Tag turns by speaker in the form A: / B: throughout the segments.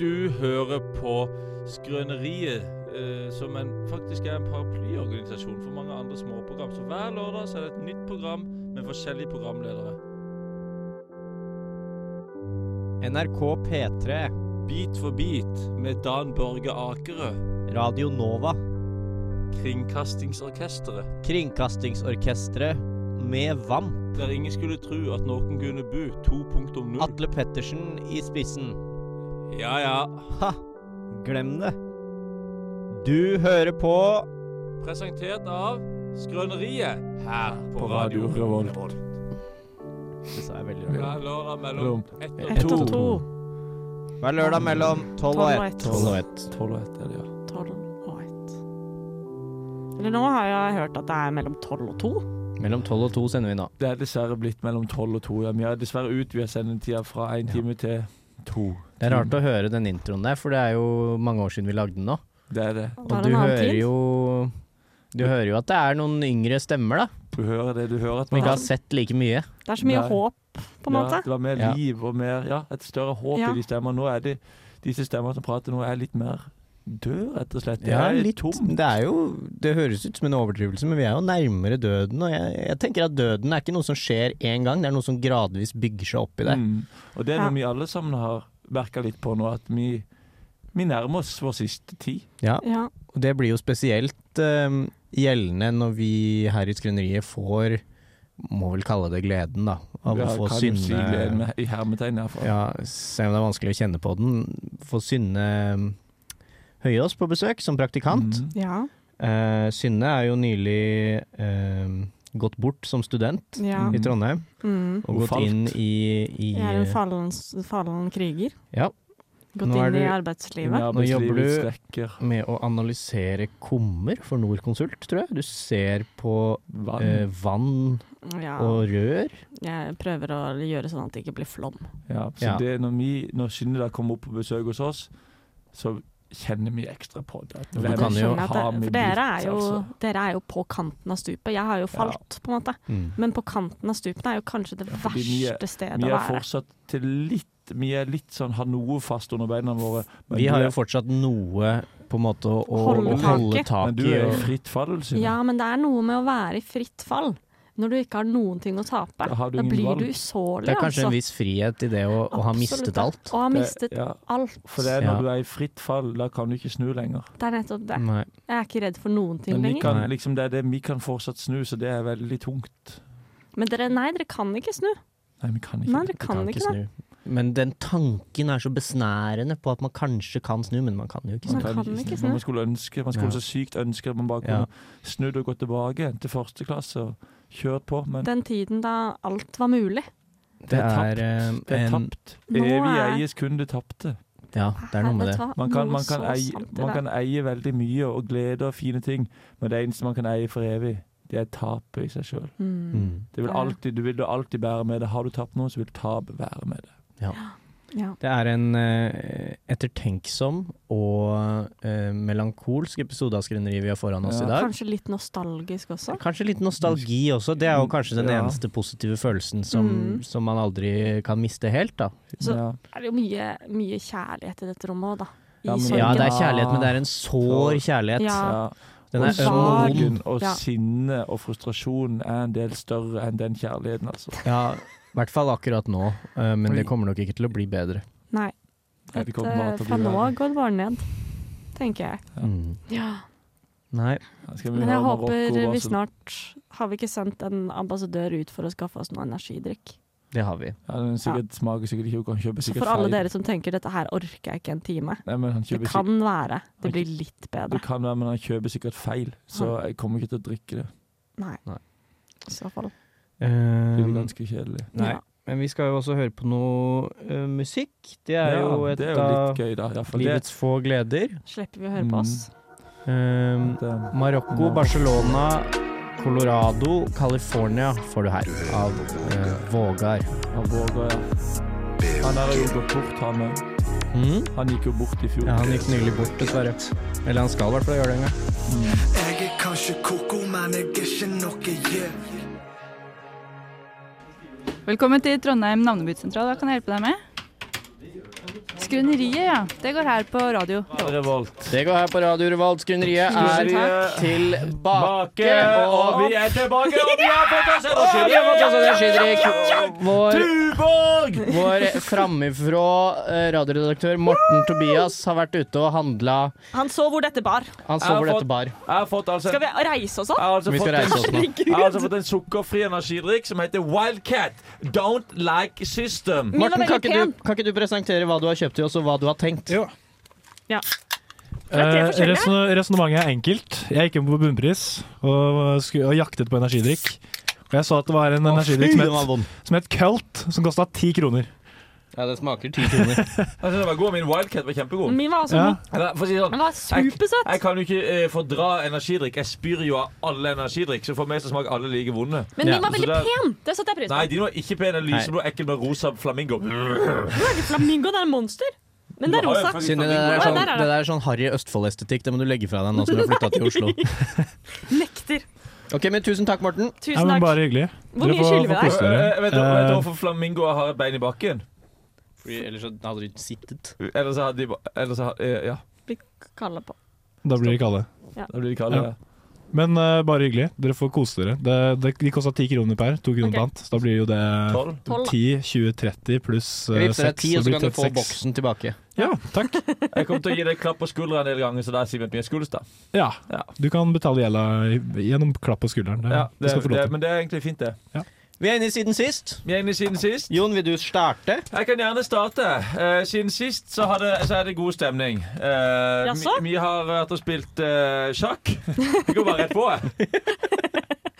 A: Du hører på Skrøneriet, eh, som en, faktisk er en paraplyorganisasjon for mange andre småprogram. Så hver lørdag så er det et nytt program med forskjellige programledere.
B: NRK P3,
A: Bit for bit med Dan Børge Akerø,
B: Radio Nova,
A: Kringkastingsorkesteret.
B: Kringkastingsorkestret med VAMP,
A: Der ingen skulle tru at noen kunne bu 2.0.
B: Atle Pettersen i spissen.
A: Ja ja.
B: Ha! Glem det. Du hører på
A: Presentert av Skrøneriet her på Radio
C: Revolt.
B: Det sa jeg veldig rart.
A: Hver lørdag mellom ett og
C: Ett
A: to.
C: og
D: To.
C: to.
B: Hver lørdag mellom 12
D: Tolv
B: og 1.
D: og ett.
B: ett.
C: Tolv og ett er det, ja.
D: Tolv og ett. Eller nå har jeg hørt at det er mellom tolv og to.
B: Mellom 12 og 2 sender vi nå.
C: Det er dessverre blitt mellom tolv og to. Ja. Vi har dessverre utvidet sendetida fra én time til to.
E: Det er rart å høre den introen der, for det er jo mange år siden vi lagde den nå.
C: Det er det.
D: Da
E: Og
D: er det
E: du
D: en annen
E: hører
D: tid.
E: jo Du hører jo at det er noen yngre stemmer, da.
C: Du hører det. Du hører at
E: Som
C: vi
E: ikke har sett like mye.
D: Det er så mye
C: Nei.
D: håp, på en måte.
C: Ja, det var mer
E: Ja.
C: liv og mer Ja, et større håp
D: Ja.
C: i de stemmene. Nå er det disse stemmene som prater nå, er litt mer død, rett og slett. Det
E: Ja,
C: er
E: litt
C: tom.
E: Det er jo Det høres ut som en overdrivelse, men vi er jo nærmere døden. Og jeg, jeg tenker at døden er ikke noe som skjer én gang, det er noe som gradvis bygger seg opp i deg.
C: Mm. Og det er
D: Ja.
C: noe vi alle sammen har merka litt på nå, at vi, vi nærmer oss vår siste tid.
E: Ja,
D: Ja.
E: og det blir jo spesielt eh, gjeldende når vi her i Skrøneriet får Må vel kalle det gleden, da. Av
C: Ja,
E: å få
C: kan jo si gleden
E: synne
C: med- i hermetegn herfra.
E: Ja, selv om det er vanskelig å kjenne på den. Få Synne ehm, Høyås på besøk som praktikant.
C: Mm.
D: Ja.
E: Eh, Synne er jo nylig eh, gått bort som student
D: ja.
C: Mm.
E: i Trondheim.
D: Mm.
E: Og
C: Hun
E: gått
C: falt.
E: inn i, i
D: Jeg er en fallen, fallen kriger.
E: Ja.
D: Gått
E: Nå er
D: inn i
E: du-
C: Inn i
D: arbeidslivet.
E: Nå jobber
C: arbeidslivets
E: du-
C: rekker.
E: med å analysere kummer for Norconsult, tror jeg. Du ser på
C: Vann.
E: eh, vann
D: Ja.
E: og rør.
D: Jeg prøver å gjøre sånn at det ikke blir flom.
C: Ja, så
E: Ja.
C: Det, når, vi, når Synne da kommer opp på besøk hos oss, så kjenner vi ekstra på det. At
E: Du
C: hvem
E: kan
D: Det
E: jo
D: skjønner jeg at det-
C: har vi
D: For dere er,
C: blitt,
D: jo,
C: altså?
D: dere er jo på kanten av stupet. Jeg har jo falt, på en måte.
C: Mm.
D: Men på kanten av stupet er jo kanskje det
C: Ja, fordi vi er-
D: verste stedet
C: Vi
D: å
C: er
D: være.
C: fortsatt til litt Vi er litt sånn, har noe fast under beina våre. men
E: Vi
C: du
E: har
C: er-
E: jo fortsatt noe på en måte å, å
D: Holde
E: holde,
D: taket.
C: Men
E: tak
C: du
E: i.
C: er i
E: og-
C: fritt fall, Synne.
D: Ja, men det er noe med å være i fritt fall. Når du ikke har noen ting å tape.
C: Da har du
D: Da
C: ingen
D: blir
C: valg.
D: du usårlig,
E: Det er kanskje
D: altså.
E: en viss frihet i det å, å ha mistet
D: Absolutt.
E: alt.
D: Å ha
C: Det-
D: mistet
C: ja,
D: alt.
C: For det er når
E: Ja.
C: du er i fritt fall, da kan du ikke snu lenger.
D: Det er nettopp det.
E: Nei.
D: Jeg er ikke redd for noen ting
C: Mm. Men vi
D: lenger.
C: kan,
E: Nei.
C: liksom, det er det vi kan fortsatt snu, så det er veldig tungt.
D: Men dere, nei, dere kan ikke snu.
C: Nei, vi kan ikke
D: Nei,
C: det.
D: dere kan, ikke det.
E: Men den tanken er så besnærende på at man kanskje kan snu, men man kan jo ikke
D: Man
E: snu.
C: Man,
D: sånn, kan
C: kan
D: ikke
C: ikke
D: snu.
C: snu. man skulle ønske, man skulle
E: Ja.
C: så sykt ønske at man bare
E: Ja.
C: kunne snudd og gått tilbake igjen til første klasse og kjørt på, men
D: Den tiden da alt var mulig.
E: Det er, eh,
C: Det er
E: en,
C: tapt.
D: Nå er-
C: Evig eies kun det tapte.
E: ja, det er noe med det.
D: Herregud, hva?
C: Man kan,
D: Noe
C: man, kan
D: så
C: eie,
D: sant i
C: man
D: det.
C: kan eie veldig mye og glede og fine ting, men det eneste man kan eie for evig, det er tapet i seg sjøl.
D: mm.
E: Mm.
C: Du vil
D: Ja.
C: alltid bære med det. Har du tapt noe, så vil tap være med det.
D: ja.
E: Det er en eh, ettertenksom og eh, melankolsk episode av Skrøneriet vi har foran oss
C: Ja.
E: i dag.
D: Kanskje litt nostalgisk også.
E: Kanskje litt nostalgi også. Det er jo kanskje den
C: Mm. Ja.
E: eneste positive følelsen som,
D: Mm.
E: som man aldri kan miste helt, da.
D: Så-
C: ja.
D: Det er jo mye, mye kjærlighet i dette rommet òg, da. I
C: Ja, men-
E: Ja,
D: sorgen.
E: det er kjærlighet, men det er en sår kjærlighet.
D: Ja.
C: Ja.
E: Den
D: Og
E: er øm og
D: sorg.
E: vond.
C: Sorgen og
D: Ja.
C: sinne og frustrasjon er en del større enn den kjærligheten, altså.
E: Ja, i hvert fall akkurat nå, eh, men det
C: Oi.
E: kommer nok ikke til å bli bedre.
D: Nei.
C: Nei, det kommer bare
D: Dette-
C: til å
D: fra
C: bli
D: nå
C: verre.
D: av går det bare ned, tenker jeg.
C: Ja.
E: Mm.
D: Ja.
E: Nei.
C: Ja, skal vi
D: Men
C: høre
D: jeg
C: om
D: håper
C: Marokko,
D: vi
C: altså?
D: snart Har vi ikke sendt en ambassadør ut for å skaffe oss noe energidrikk?
E: Det har vi.
C: Ja, den sikkert smaker sikkert ikke, og kan kjøpe
D: Så
C: sikkert
D: for alle
C: feil.
D: dere som tenker dette her orker jeg ikke en time,
C: Nei, men han
D: det
C: kjøper
D: kan være det Mm. blir litt
C: Det
D: bedre.
C: kan være, men han kjøper sikkert feil, så jeg kommer ikke til å drikke det.
D: Nei.
E: Nei.
D: I så fall.
C: Det blir
E: Eh,
C: ganske kjedelig.
E: Nei.
D: Ja.
E: Men vi skal jo også høre på noe eh, musikk. Det er
C: Ja,
E: jo et uh,
C: det er jo
E: av
C: litt gøy, da. Ja, for det,
E: livets få gleder.
D: Slipper vi å høre på oss?
C: Mm.
E: Um,
C: det,
E: Marokko, Barcelona, Colorado, California får du her av eh, Vågar.
C: han våger, ja. Han der har jo gått bort, han òg. Han gikk jo bort i fjor.
E: Mhm. Ja, han gikk nylig bort, dessverre. Eller han skal i hvert fall gjøre det en gang.
F: Jeg er kanskje koko, men jeg er ikke noe yeah.
G: Velkommen til Trondheim navnebytesentral. Hva kan jeg hjelpe deg med? Skrøneriet, ja. Det går her på radio.
C: Revolt.
E: Det går her på Radio Revolt. Skrøneriet er tilbake.
C: Bake, og
E: Og
C: vi er tilbake, og vi har fått oss en
E: vi har fått oss en skydrikk. Vår
C: Tuborg!
E: Vår framifrå eh, radioredaktør Morten Tobias har vært ute og handla.
D: Han så hvor dette bar.
E: Han
C: Jeg
E: så
C: har
E: hvor
C: fått-
E: dette bar.
C: Jeg har fått altså
D: Skal vi reise oss
C: jeg
D: opp?
C: har altså
E: Vi
C: fått
E: skal
C: en,
E: reise oss nå.
C: jeg har altså fått en sukkerfri energidrikk som heter Wildcat Don't Like System.
D: Min var
E: Morten, kan
D: veldig
E: ikke,
D: pen.
E: du, kan ikke du presentere hva du har kjøpt til oss, og hva du har tenkt?
H: Jo.
D: Ja.
H: Eh, Resonnementet er enkelt. Jeg gikk inn på bunnpris og, sku- og jaktet på energidrikk. Og jeg så at det var en energidrikk som het,
E: vond.
H: som het Cult, som kosta ti kroner.
E: Ja, det smaker ti kroner.
C: Jeg synes den var god, Min Wildcat var
E: Mm.
C: kjempegod.
D: Min var også
H: Ja.
D: god.
C: Eller, for å si det sånn,
D: Den var supersøt.
C: jeg kan jo ikke eh, fordra energidrikk. Jeg spyr jo av alle energidrikk, så for meg så smaker alle like vonde.
D: Men
E: Ja.
D: min var veldig
C: Så det-
D: pen. Det satte jeg pris på.
C: Nei, de var ikke pene. Lyseblå, ekkel med rosa flamingo.
D: Du er ikke flamingo, det er en monster. Men det er rosa.
E: Synne, det der er sånn,
D: Ja, der er det.
E: det der er sånn harry Østfold-estetikk. Det må du legge fra deg nå som du har flytta til Oslo.
D: Nekter.
E: Ok, men Tusen takk, Morten.
H: Ja,
D: Tusen
H: men
D: takk.
H: bare hyggelig.
D: Hvor mye
H: får-
D: skylder vi
H: får
D: deg?
H: kose dere.
C: Eh, Vet du vet du hvorfor flamingoer har bein i bakken?
E: Fordi Ellers så hadde du ikke sittet.
C: Ellers hadde de ba- Ellers hadde eh, Ja.
D: Vi kaller på.
H: Eh, Da blir det ikke alle.
C: Da blir de kalde.
H: Ja. Men eh, bare hyggelig. Dere får kose dere. Det, det, de kosta ti kroner per. To kroner
D: Ok.
H: pant. Så da blir jo det
C: Tolv.
D: 12.
H: 10, 20, 30 pluss
E: Jeg
H: eh,
E: vippser deg
H: 6.
E: ti, og
H: Så
E: så
H: blir
E: kan
H: det
E: du få
H: 36.
E: boksen tilbake.
H: Ja, takk.
C: Jeg kommer til å gi deg klapp på skuldra en del ganger, så der sier vi at vi er skolestad.
H: Ja.
C: Ja.
H: Du kan betale gjelda gjennom klapp på skulderen. Det,
C: Ja,
H: det
C: det,
H: skal du få lov
C: det,
H: til.
C: men det er egentlig fint, det.
E: Vi er inne i siden sist.
C: Vi er inne i siden sist.
E: Jon, vil du starte?
C: Jeg kan gjerne starte. Eh, siden sist så, har det- så er det god stemning. Eh,
D: Jaså?
C: vi, vi har vært og spilt eh, sjakk. Vi går bare rett på. jeg.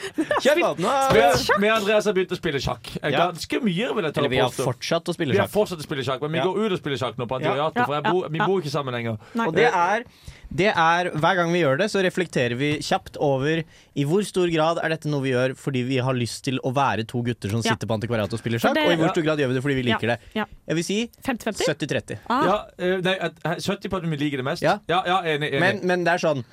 E: Kjør på! Nå er
C: Vi har- Vi og Andreas har begynt å spille sjakk. Eh,
E: Ja.
C: Ganske mye, vil jeg ta
E: Eller vi har
C: påstå.
E: fortsatt å spille
C: Vi har
E: sjakk.
C: fortsatt å spille sjakk, men vi
E: Ja.
C: går ut og spiller sjakk nå på
E: Ja.
C: Antioriatet, for jeg
D: Ja,
C: bor, vi
D: ja.
C: bor ikke sammen lenger.
D: Nei.
E: Og det er, det er Hver gang vi gjør det, så reflekterer vi kjapt over i hvor stor grad er dette noe vi gjør fordi vi har lyst til å være to gutter som
D: Ja.
E: sitter på antikvariatet og spiller sjakk,
D: For det-
E: og i hvor stor grad gjør vi det fordi vi liker det.
D: Ja.
E: Jeg vil si
D: 50-50?
E: 70-30.
D: Ah,
C: Ja, eh, nei, at- eh, 70 på at vi liker det mest.
E: Ja.
C: ja, ja enig. enig.
E: Men, men det er sånn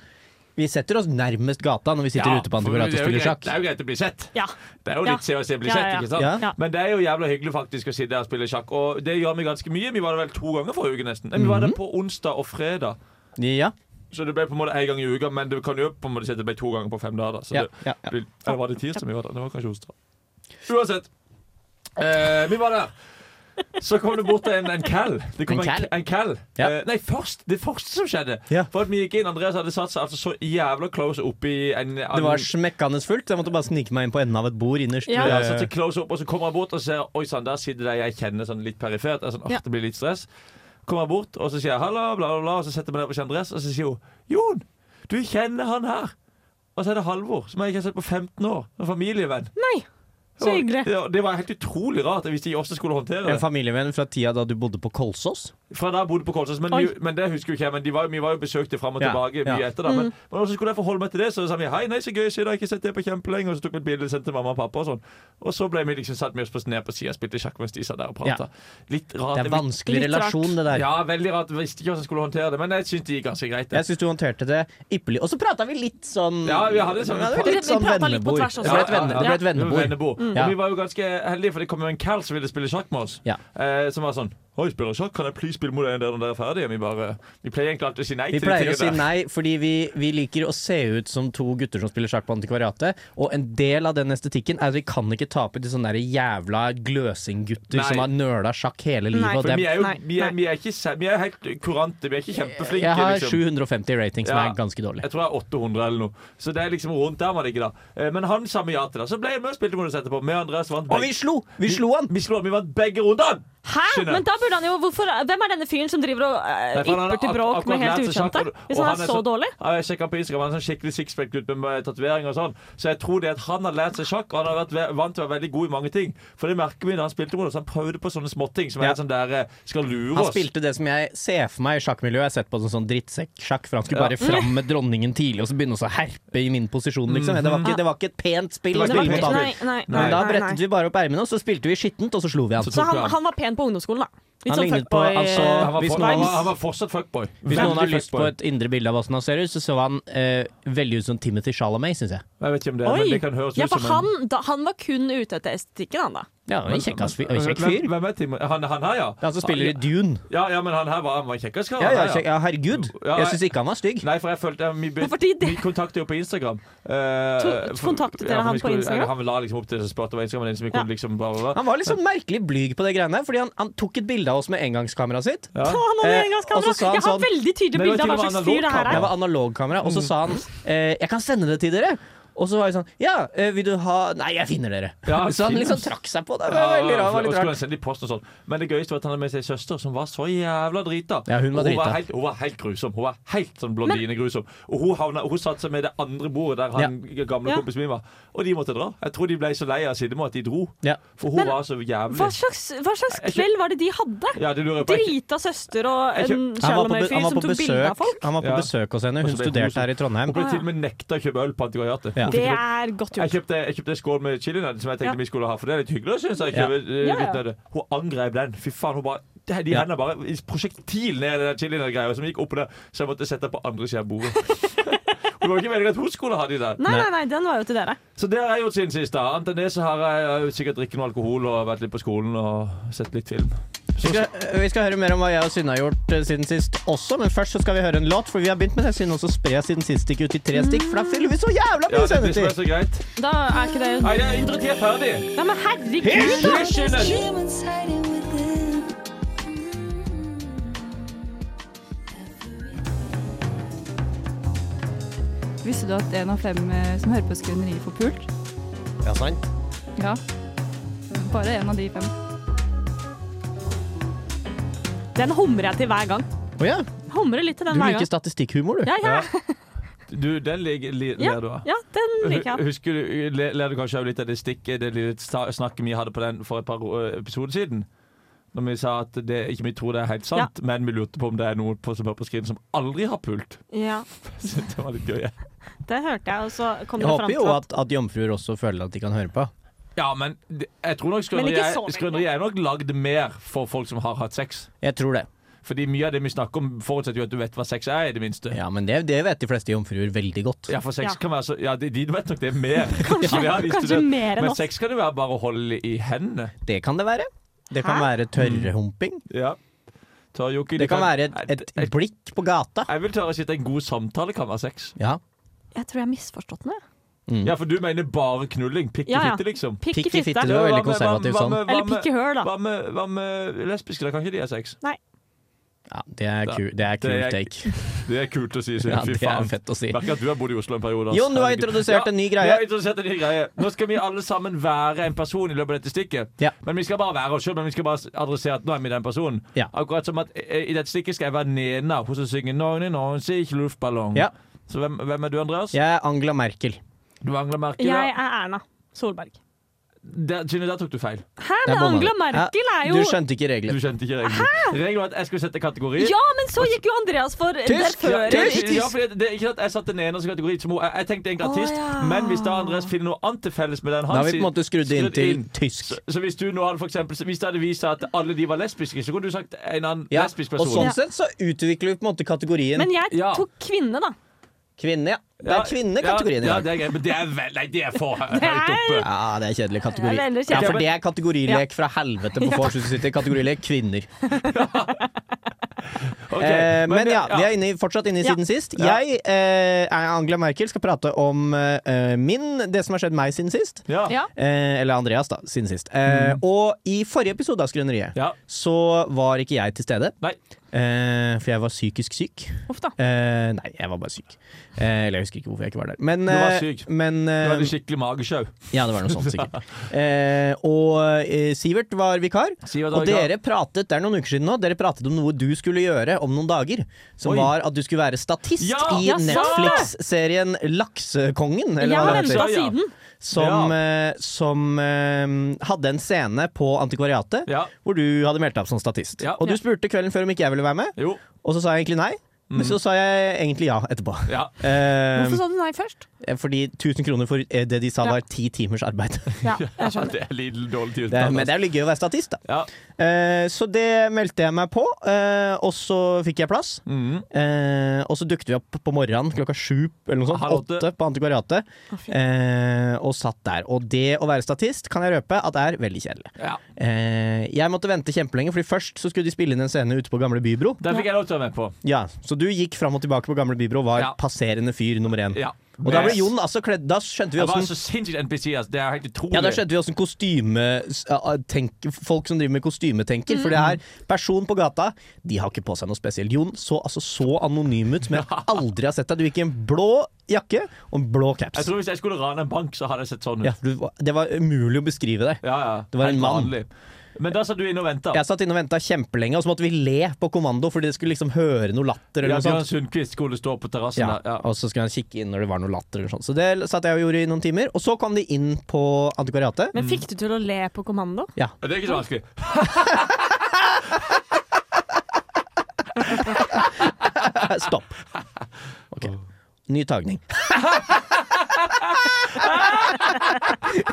E: Vi setter oss nærmest gata når vi sitter
C: Ja,
E: ute på
C: for
E: antikvariatet
C: det
E: og
C: er jo
E: spiller
C: greit-
E: sjakk.
C: Det er jo greit å bli sett.
D: ja.
C: Det er jo
D: Ja.
C: litt se og se bli
D: Ja,
C: sett,
D: ja, ja.
C: ikke sant?
E: Ja.
D: Ja.
C: Men det er jo jævla hyggelig faktisk å sitte her og spille sjakk, og det gjør vi ganske mye. Vi var der vel to ganger forrige uke, nesten. Nei, Vi var
E: Mhm.
C: der på onsdag og fredag.
E: Ja,
C: Så det ble på en måte én gang i uka, men det kan jo på en måte si at det ble to ganger på fem dager. da. Så
E: ja,
C: det,
E: ja, ja.
C: blir- Eller var det tirsdag vi var der? Det var kanskje onsdag. Uansett. Eh, vi var der. Så kom det bort en, en kall. Det kom
E: En
C: en,
E: kall?
C: en kall.
E: Ja.
C: Eh, nei, først, det første som skjedde
E: Ja.
C: For at vi gikk inn, Andreas hadde satt seg altså så jævla close oppi en
E: Det var smekkende fullt, så jeg måtte bare snike meg inn på enden av et bord innerst.
D: Ja.
C: Ja,
E: Eh,
C: så til close up, og så kommer han bort og ser Oi sann, der sitter de jeg kjenner sånn litt perifert. Jeg er sånn,
D: Ja.
C: «Åh, Det blir litt stress. Kommer han bort, og så sier jeg halla, bla, bla, bla, og så setter jeg meg ned på Andres, og så sier hun Jon, du kjenner han her. Og så er det Halvor, som jeg ikke har sett på 15 år. En familievenn.
D: Nei. Så hyggelig.
C: Det var, det var helt utrolig rart. Jeg visste ikke hvordan jeg skulle håndtere
E: En
C: det.
E: familievenn fra tida da du bodde på Kolsås.
C: Fra da jeg bodde på Kolsås, men, vi, men det husker jo ikke jeg. Men de var, vi var jo besøkte fram og
E: Ja,
C: tilbake mye
E: ja.
C: etter. da Men, men også skulle jeg forholde meg til det, så sa vi hei, nei, så gøy, så jeg har ikke sett det på kjempelenge. Og så tok vi et bilde og sendte til mamma og pappa og sånn. Og så ble vi liksom satt med oss på ned på sida og spilte sjakk mens de satt der og prata. Litt rart.
E: Det er en vanskelig
D: Litt rart.
E: relasjon, det der.
C: ja, veldig rart. Jeg visste ikke hvordan jeg skulle håndtere det, men jeg syns det gikk ganske greit.
E: Jeg
C: Det.
E: syns du håndterte det ypperlig. Og så prata vi litt sånn
C: Ja, vi hadde sånn-
E: det var
D: Vi- vi
E: litt sånn
D: pratet litt på
E: vennebord.
D: tvers også.
E: Det ble et, venne, det ble et
C: Det var
E: vennebord.
C: vennebord.
E: Ja.
C: Og vi var jo ganske heldige, for det kom jo en kall som ville spille sjakk med oss.
E: Ja.
C: Eh, som var sånn Oi, spiller sjakk? Kan jeg please spille mot deg når dere er ferdige? Vi bare Vi pleier egentlig alltid å si nei
E: Vi
C: de
E: pleier å si
C: tingene der.
E: nei fordi vi, vi liker å se ut som to gutter som spiller sjakk på antikvariatet. Og en del av den estetikken er at vi kan ikke tape til sånne der jævla gløsinggutter
C: Nei.
E: som har nøla sjakk hele
D: Nei.
E: livet. Og
C: For vi
E: dem.
C: er jo
D: Nei,
C: vi er,
D: nei.
C: vi er ikke, se- vi er helt kurante. Vi er ikke kjempeflinke.
E: Jeg har
C: liksom.
E: 750 rating, som
C: Ja.
E: er ganske dårlig.
C: Jeg tror jeg er 800 eller noe. Så det er liksom rundt der man ligger, da. Eh, Men han sa vi ja til det. Så ble jeg med og spilte mot oss etterpå. Vi og Andreas vant
E: Og vi
C: begge.
E: slo! Vi slo han!
C: Vi, slo, vi vant begge rundene!
D: Hæ?
C: Skjønner.
D: Men da burde han jo hvorfor, Hvem er denne fyren som driver og eh,
C: Nei, for han har
D: ypper til
C: ak-
D: bråk
C: akkurat
D: med helt
C: lært seg
D: ukjente?
C: sjakk, og- og
D: Hvis han
C: han
D: er
C: er
D: så
C: så-
D: dårlig?
C: Ja, Jeg sjekket på Instagram, han er sånn skikkelig sixpack-gutt med- med tatoveringer og sånn. Så jeg tror det at han har lært seg sjakk, og han har vært ve- vant til å være veldig god i mange ting. For det merker vi da han spilte mot oss. Han prøvde på sånne småting som er
E: Ja.
C: helt sånn der eh, skal lure
E: Han
C: oss.
E: spilte det som jeg ser for meg i sjakkmiljøet. Jeg har sett på sånn, sånn drittsekksjakk, for han skulle bare fram med dronningen tidlig og så begynne å så herpe i min posisjon, liksom. Det var ikke, det var ikke et pent spill å
C: Mm. Det var
D: Det var
E: spille
C: ikke-
E: mot han.
D: ikke, nei, nei, nei,
E: Men da
D: nei,
E: brettet vi
D: nei.
E: bare opp ermene, og så spilte vi skittent, og så slo vi han.
C: Så
D: Så
C: tok
D: han,
C: vi han.
D: han var pen på ungdomsskolen, da. Litt
E: Han
D: sånn
E: lignet på
D: fuckboy-
E: han så-
C: han, var
E: Hvis
C: for,
E: noen
C: han,
E: har-
C: var, han var fortsatt fuckboy.
E: Hvis noen har
C: Veldig
E: lyst på
C: fuckboy.
E: et indre bilde av åssen han ser ut, så så han eh, veldig ut som Timothy Chalamet, syns jeg.
C: Jeg vet ikke om det, er,
D: Oi!
C: men det kan høres
D: Ja,
C: ut
D: for
C: som en
D: han, da, han var kun ute etter estetikken, han da.
E: Ja, han er en kjekkas fyr. en Kjekk
C: Hvem,
E: fyr.
C: hvem er Tim? Han, han her, ja.
E: Det er han som spiller i Dune.
C: Ja, ja, men han her var, han var en kjekkas kar.
E: Ja,
C: han
E: ja,
C: her,
E: kjekk, ja herregud.
C: Ja,
E: Jeg
C: jeg-
E: syns ikke han var stygg.
C: Nei, for jeg følte Vi, be-
D: Hvorfor de det?
C: vi kontaktet jo på Instagram. Eh,
D: To-
C: for-
D: kontaktet dere
C: for vi
D: han på
C: skulle-
D: Instagram?
C: eller Han la liksom opp til det, så spurte på Instagram, så vi kunne
D: Ja.
C: liksom bla, bla, bla.
E: Han var litt sånn merkelig blyg på det greiene der, fordi han, han tok et bilde av oss med engangskameraet sitt.
C: Ja.
D: Ta han over
E: Eh,
D: engangskamera!
E: og så sa han
D: Jeg har
E: sånn-
D: veldig tydelig
C: Men det var
D: bilde av hva
C: til og med
D: slags fyr det her
C: analogkamera.
E: Det
D: er.
E: var analogkamera, og så sa han eh, 'jeg kan sende det til dere'. Og så var jeg sånn 'ja, eh, vil du ha Nei, jeg finner dere'.
C: Ja,
E: så han
C: fint.
E: liksom trakk seg på det. Det
C: Ja,
E: var veldig rart. det Var
C: og
E: litt
C: skulle
E: rart.
C: han sende i posten og sånn. Men det gøyeste var at han hadde med seg søster, som var så jævla drita.
E: Ja, hun var
C: Og hun,
E: drita.
C: var helt, hun var helt grusom. Hun var helt sånn blondinegrusom. Og hun, havna, hun satte seg med det andre bordet der han gamle
D: Ja.
C: kompisen min var. Og de måtte dra. Jeg tror de ble så lei av Sidemo at de dro.
E: Ja.
C: For hun
D: Men-
C: var så
D: Hva
C: jævlig.
D: slags, hva slags kveld var det de hadde?
C: Ja, det lurer jeg på. Jeg-
D: Drita søster og
C: Jeg kjø-
D: en
E: Han var på, be-
D: Chalamet-fyr
E: han var
D: som
E: på
D: tok bilde av
E: besøk,
D: folk?
E: han var på
C: Ja.
E: besøk hos henne.
C: Og
E: Hun
C: så ble hun
E: studerte her i
C: Hun
E: Trondheim.
C: ble til og med nekta å kjøpe øl på Antikvariatet.
E: Ja.
C: Hun
D: Det
C: fikk ikke lov.
D: er godt
C: Jeg
D: gjort.
C: kjøpte, jeg kjøpte en skål med chilinøtt som jeg tenkte
D: Ja.
C: vi skulle ha, for det er litt hyggelig. Synes jeg,
E: Ja.
C: kjøpe, eh,
D: Ja, ja.
C: litt nødde. Hun angrep den. Fy faen, hun bare De, de
E: Ja.
C: hender bare i prosjektil ned i den chilinøttgreia som gikk opp og ned, så jeg måtte sette den på andre siden av bordet. Det var ikke meningen at hun skulle ha de der.
D: Nei, nei, nei, den var jo til dere.
C: Så det har jeg gjort siden sist. da Annet enn det så har jeg eh, sikkert drikket noe alkohol og vært litt på skolen og sett litt film.
E: Vi skal, vi skal høre mer om hva jeg og Synne har gjort eh, siden sist også, men først så skal vi høre en låt, for vi har begynt med det. Synne også spre siden sist gikk ut i tre stikk, for da fyller vi så jævla
C: Ja,
E: mye
C: det blir som er
E: sendetid!
C: så greit.
D: Da er ikke det
C: Nei, det er ytre tid er ferdig.
D: Ja, men herregud, da!
G: Visste du at en av fem eh, som hører på Skrøneriet, får pult?
E: Ja, sant.
G: Ja. Bare en av de fem.
D: Den humrer jeg til hver gang.
E: Å ja,
D: Humrer litt til
E: du
D: den hver
E: liker
D: gang.
E: statistikkhumor, du.
D: Ja, ja,
C: Du, den ler li,
D: Ja.
C: ler du av.
D: ja, den liker
C: Hu-
D: jeg.
C: Husker du, eh, le- ler du kanskje av litt av det stikket Det lille sta- snakket vi hadde på den for et par ø, episoder siden? Når vi sa at det, ikke vi tror det er helt sant, men vi lurte på om det er noen på, som hører på skriden som aldri har pult.
D: Ja,
C: Så det var litt gøy.
D: det hørte jeg, og så kom
E: Jeg
D: det fram
E: håper jo
D: til at
E: at, at jomfruer også føler at de kan høre på.
C: Ja, men det, jeg tror nok
D: Men ikke
C: skrøneriet
D: så veldig.
C: skrøneriet er nok lagd mer for folk som har hatt sex.
E: Jeg tror det.
C: Fordi mye av det vi snakker om, forutsetter jo at du vet hva sex er, i det minste.
E: Ja, men det, det vet de fleste jomfruer veldig godt.
C: Ja, for sex
D: Ja.
C: kan være så Ja, de, de vet nok det mer.
D: Kanskje,
C: Ja, de
D: kanskje
C: student-
D: mer enn
C: Men
D: oss.
C: sex kan jo være bare å holde i hendene.
E: Det kan det være. Det kan være tørrhumping.
C: Ja. Tørrjokke,
E: Det
C: du
E: kan være et, et blikk på gata.
C: Jeg vil tørre å si at en god samtale kan være sex.
E: Ja.
D: Jeg tror jeg har misforstått noe.
C: Ja, for du mener bare knulling. Pikk i
D: Ja, ja.
C: fitte, liksom.
D: Pikk
E: Pikk
D: i fitte.
E: du er
C: Ja,
E: veldig
C: hva med-
E: konservativ
C: hva
E: sånn.
C: med- hva
D: Eller
C: med-
D: pikk i høl, da.
C: Hva med, hva med lesbiske? Da kan ikke de ha sex.
E: Ja, det er
C: Da-
E: ku- det er
C: det
E: kul
C: er-
E: take.
C: Det er kult å si, så
E: Ja,
C: fy
E: det er
C: faen.
E: fett å si.
C: Merker at du har bodd i Oslo en periode. ass.
E: Jon, du har
C: Herregud.
E: introdusert
C: Ja,
E: en ny
C: jeg
E: greie.
C: har introdusert en ny greie. Nå skal vi alle sammen være en person i løpet av dette stikket.
E: Ja.
C: Men vi skal bare være oss sjøl, men vi skal bare adressere at nå er vi den personen.
E: Ja.
C: Akkurat som at eh, i dette stikket skal jeg være nena hun som synger 'Norne, Norne, ikke luftballong'.
E: Ja.
C: Så hvem, hvem er du, Andreas?
E: Jeg er Angela Merkel.
C: Du angler merke.
D: Jeg er Erna Solberg.
C: Der, Synne, der tok du feil.
D: Hæ,
E: Jeg
D: men
E: bomma
D: Angela
E: det.
D: Merkel er
E: Du
D: jo
E: skjønte ikke
C: Du
E: reglene.
C: skjønte ikke regelen. Regelen var at jeg skulle sette kategori.
D: Ja, men så gikk jo Andreas for der
E: Tysk!
D: før.
C: Ja,
E: Tysk!
C: jeg- ja, fordi det er ikke at jeg satte den eneste kategori som hun- jeg, jeg tenkte egentlig artist,
D: Å, ja.
C: men hvis da Andreas finner noe annet til felles med den
E: Da
C: han
E: har vi på en måte skrudd det inn
C: skrudd
E: til
C: inn.
E: tysk.
C: så, så hvis du nå hadde for eksempel, hvis det hadde vist seg at alle de var lesbiske, så kunne du sagt en annen
E: Ja,
C: lesbisk
E: og
C: person.
E: sånn sett så utvikler vi på en måte kategorien
D: Men jeg
C: Ja.
D: tok kvinne, da.
E: kvinne, ja. Det
C: Ja,
E: er kvinnekategorien i
C: ja,
E: dag.
C: det er greit, men det er vel Nei, det er for høyt
D: Det er-
C: oppe.
E: Ja, det er kjedelig kategori.
D: Det er veldig
E: Ja,
D: kjedelig.
E: for det er kategorilek fra helvete på Forsus City. Kategorilek kvinner.
C: Ok,
E: Eh, men ja, vi
C: ja.
E: er inne, i- fortsatt inne i
D: Ja.
E: siden sist.
C: Ja.
E: Jeg, eh, er Angela Merkel, skal prate om eh, min, det som har skjedd meg siden sist.
C: Ja.
G: Ja.
E: Eh, eller Andreas, da, siden sist. Eh, Og i forrige episode av Skrøneriet
C: Mm. Ja.
E: så var ikke jeg til stede.
C: Nei.
E: Eh, for jeg var psykisk syk.
D: Uff da.
E: Eh, nei, jeg var bare syk. Eh, eller jeg husker ikke hvorfor jeg ikke var der. Men,
C: var
E: eh,
C: syk.
E: men
C: Du
E: eh,
C: hadde skikkelig magesjau.
E: Ja, det var noe sånt, sikkert. Eh, og eh, Sivert var vikar.
C: Sivert var
E: Og
C: vikar.
E: dere pratet det er noen uker siden nå Dere pratet om noe du skulle gjøre om noen dager. Som
C: Oi.
E: var at du skulle være statist
C: Ja,
E: i
D: ja, sant det!
E: Netflix-serien Laksekongen. Eller
D: Jeg
E: hva det
D: har
E: heter.
D: venta
C: Ja, ja.
D: siden.
E: Som, eh, som eh, hadde en scene på Antikvariatet
C: Ja.
E: hvor du hadde meldt deg opp som statist.
C: Ja.
E: Og du spurte kvelden før om ikke jeg ville være med,
C: Jo.
E: og så sa jeg egentlig nei.
C: Mm.
E: Men så sa jeg egentlig ja etterpå.
C: Ja.
E: Eh,
D: Hvorfor sa du nei først?
E: fordi 1000 kroner for eh, det de sa var ti timers arbeid.
D: Ja, jeg skjønner.
C: Det er litt dårlig tid.
E: Det er, men det er jo litt gøy å være statist, da.
C: Ja.
E: Eh, så det meldte jeg meg på, eh, og så fikk jeg plass.
C: Mhm.
E: Eh, og så dukket vi opp på morgenen klokka sju eller noe
C: Halv
E: sånt,
C: åtte.
E: åtte på Antikvariatet.
D: Å, fy.
E: Eh, og satt der. Og det å være statist kan jeg røpe at er veldig kjedelig.
C: Ja.
E: Eh, jeg måtte vente kjempelenge, Fordi først så skulle de spille inn en scene ute på Gamle Bybro.
C: Den fikk jeg lov til å være med på.
E: Ja, Så du gikk fram og tilbake på Gamle Bybro og var
C: Ja.
E: passerende fyr nummer én.
C: Ja.
E: Og da ble Jon altså kledd Da skjønte vi
C: Jeg var
E: åssen
C: så sinnssykt NPC, ass. altså. Det er helt utrolig.
E: ja, da skjønte vi åssen kostyme... s- a- a- tenk- Folk som driver med kostyme, tenker. For det er
C: Mm.
E: person på gata, de har ikke på seg noe spesielt. Jon så altså så anonym ut som jeg aldri har sett deg. Du gikk i en blå jakke og en blå
C: Jeg
E: caps.
C: tror Hvis jeg skulle rane en bank, så hadde jeg sett sånn ut.
E: Ja, du, var- det var umulig å beskrive deg.
C: Ja, ja.
E: Det var en
C: Helt
E: mann.
C: vanlig. Men da satt du inne og venta.
E: Jeg satt inne og venta kjempelenge, og så måtte vi le på kommando fordi det skulle liksom høre noe latter.
C: Ja,
E: Eller noe
C: Bjørn
E: sånt.
C: Sundquist skulle stå på terrassen
E: Ja,
C: der. Ja.
E: Og så skulle han kikke inn når det var noe latter. Eller sånt. Så det satt jeg og gjorde i noen timer. Og så kom de inn på antikvariatet.
D: Men fikk du til å le på kommando?
C: Det er ikke så vanskelig.
E: Stopp. Ok. Ny tagning.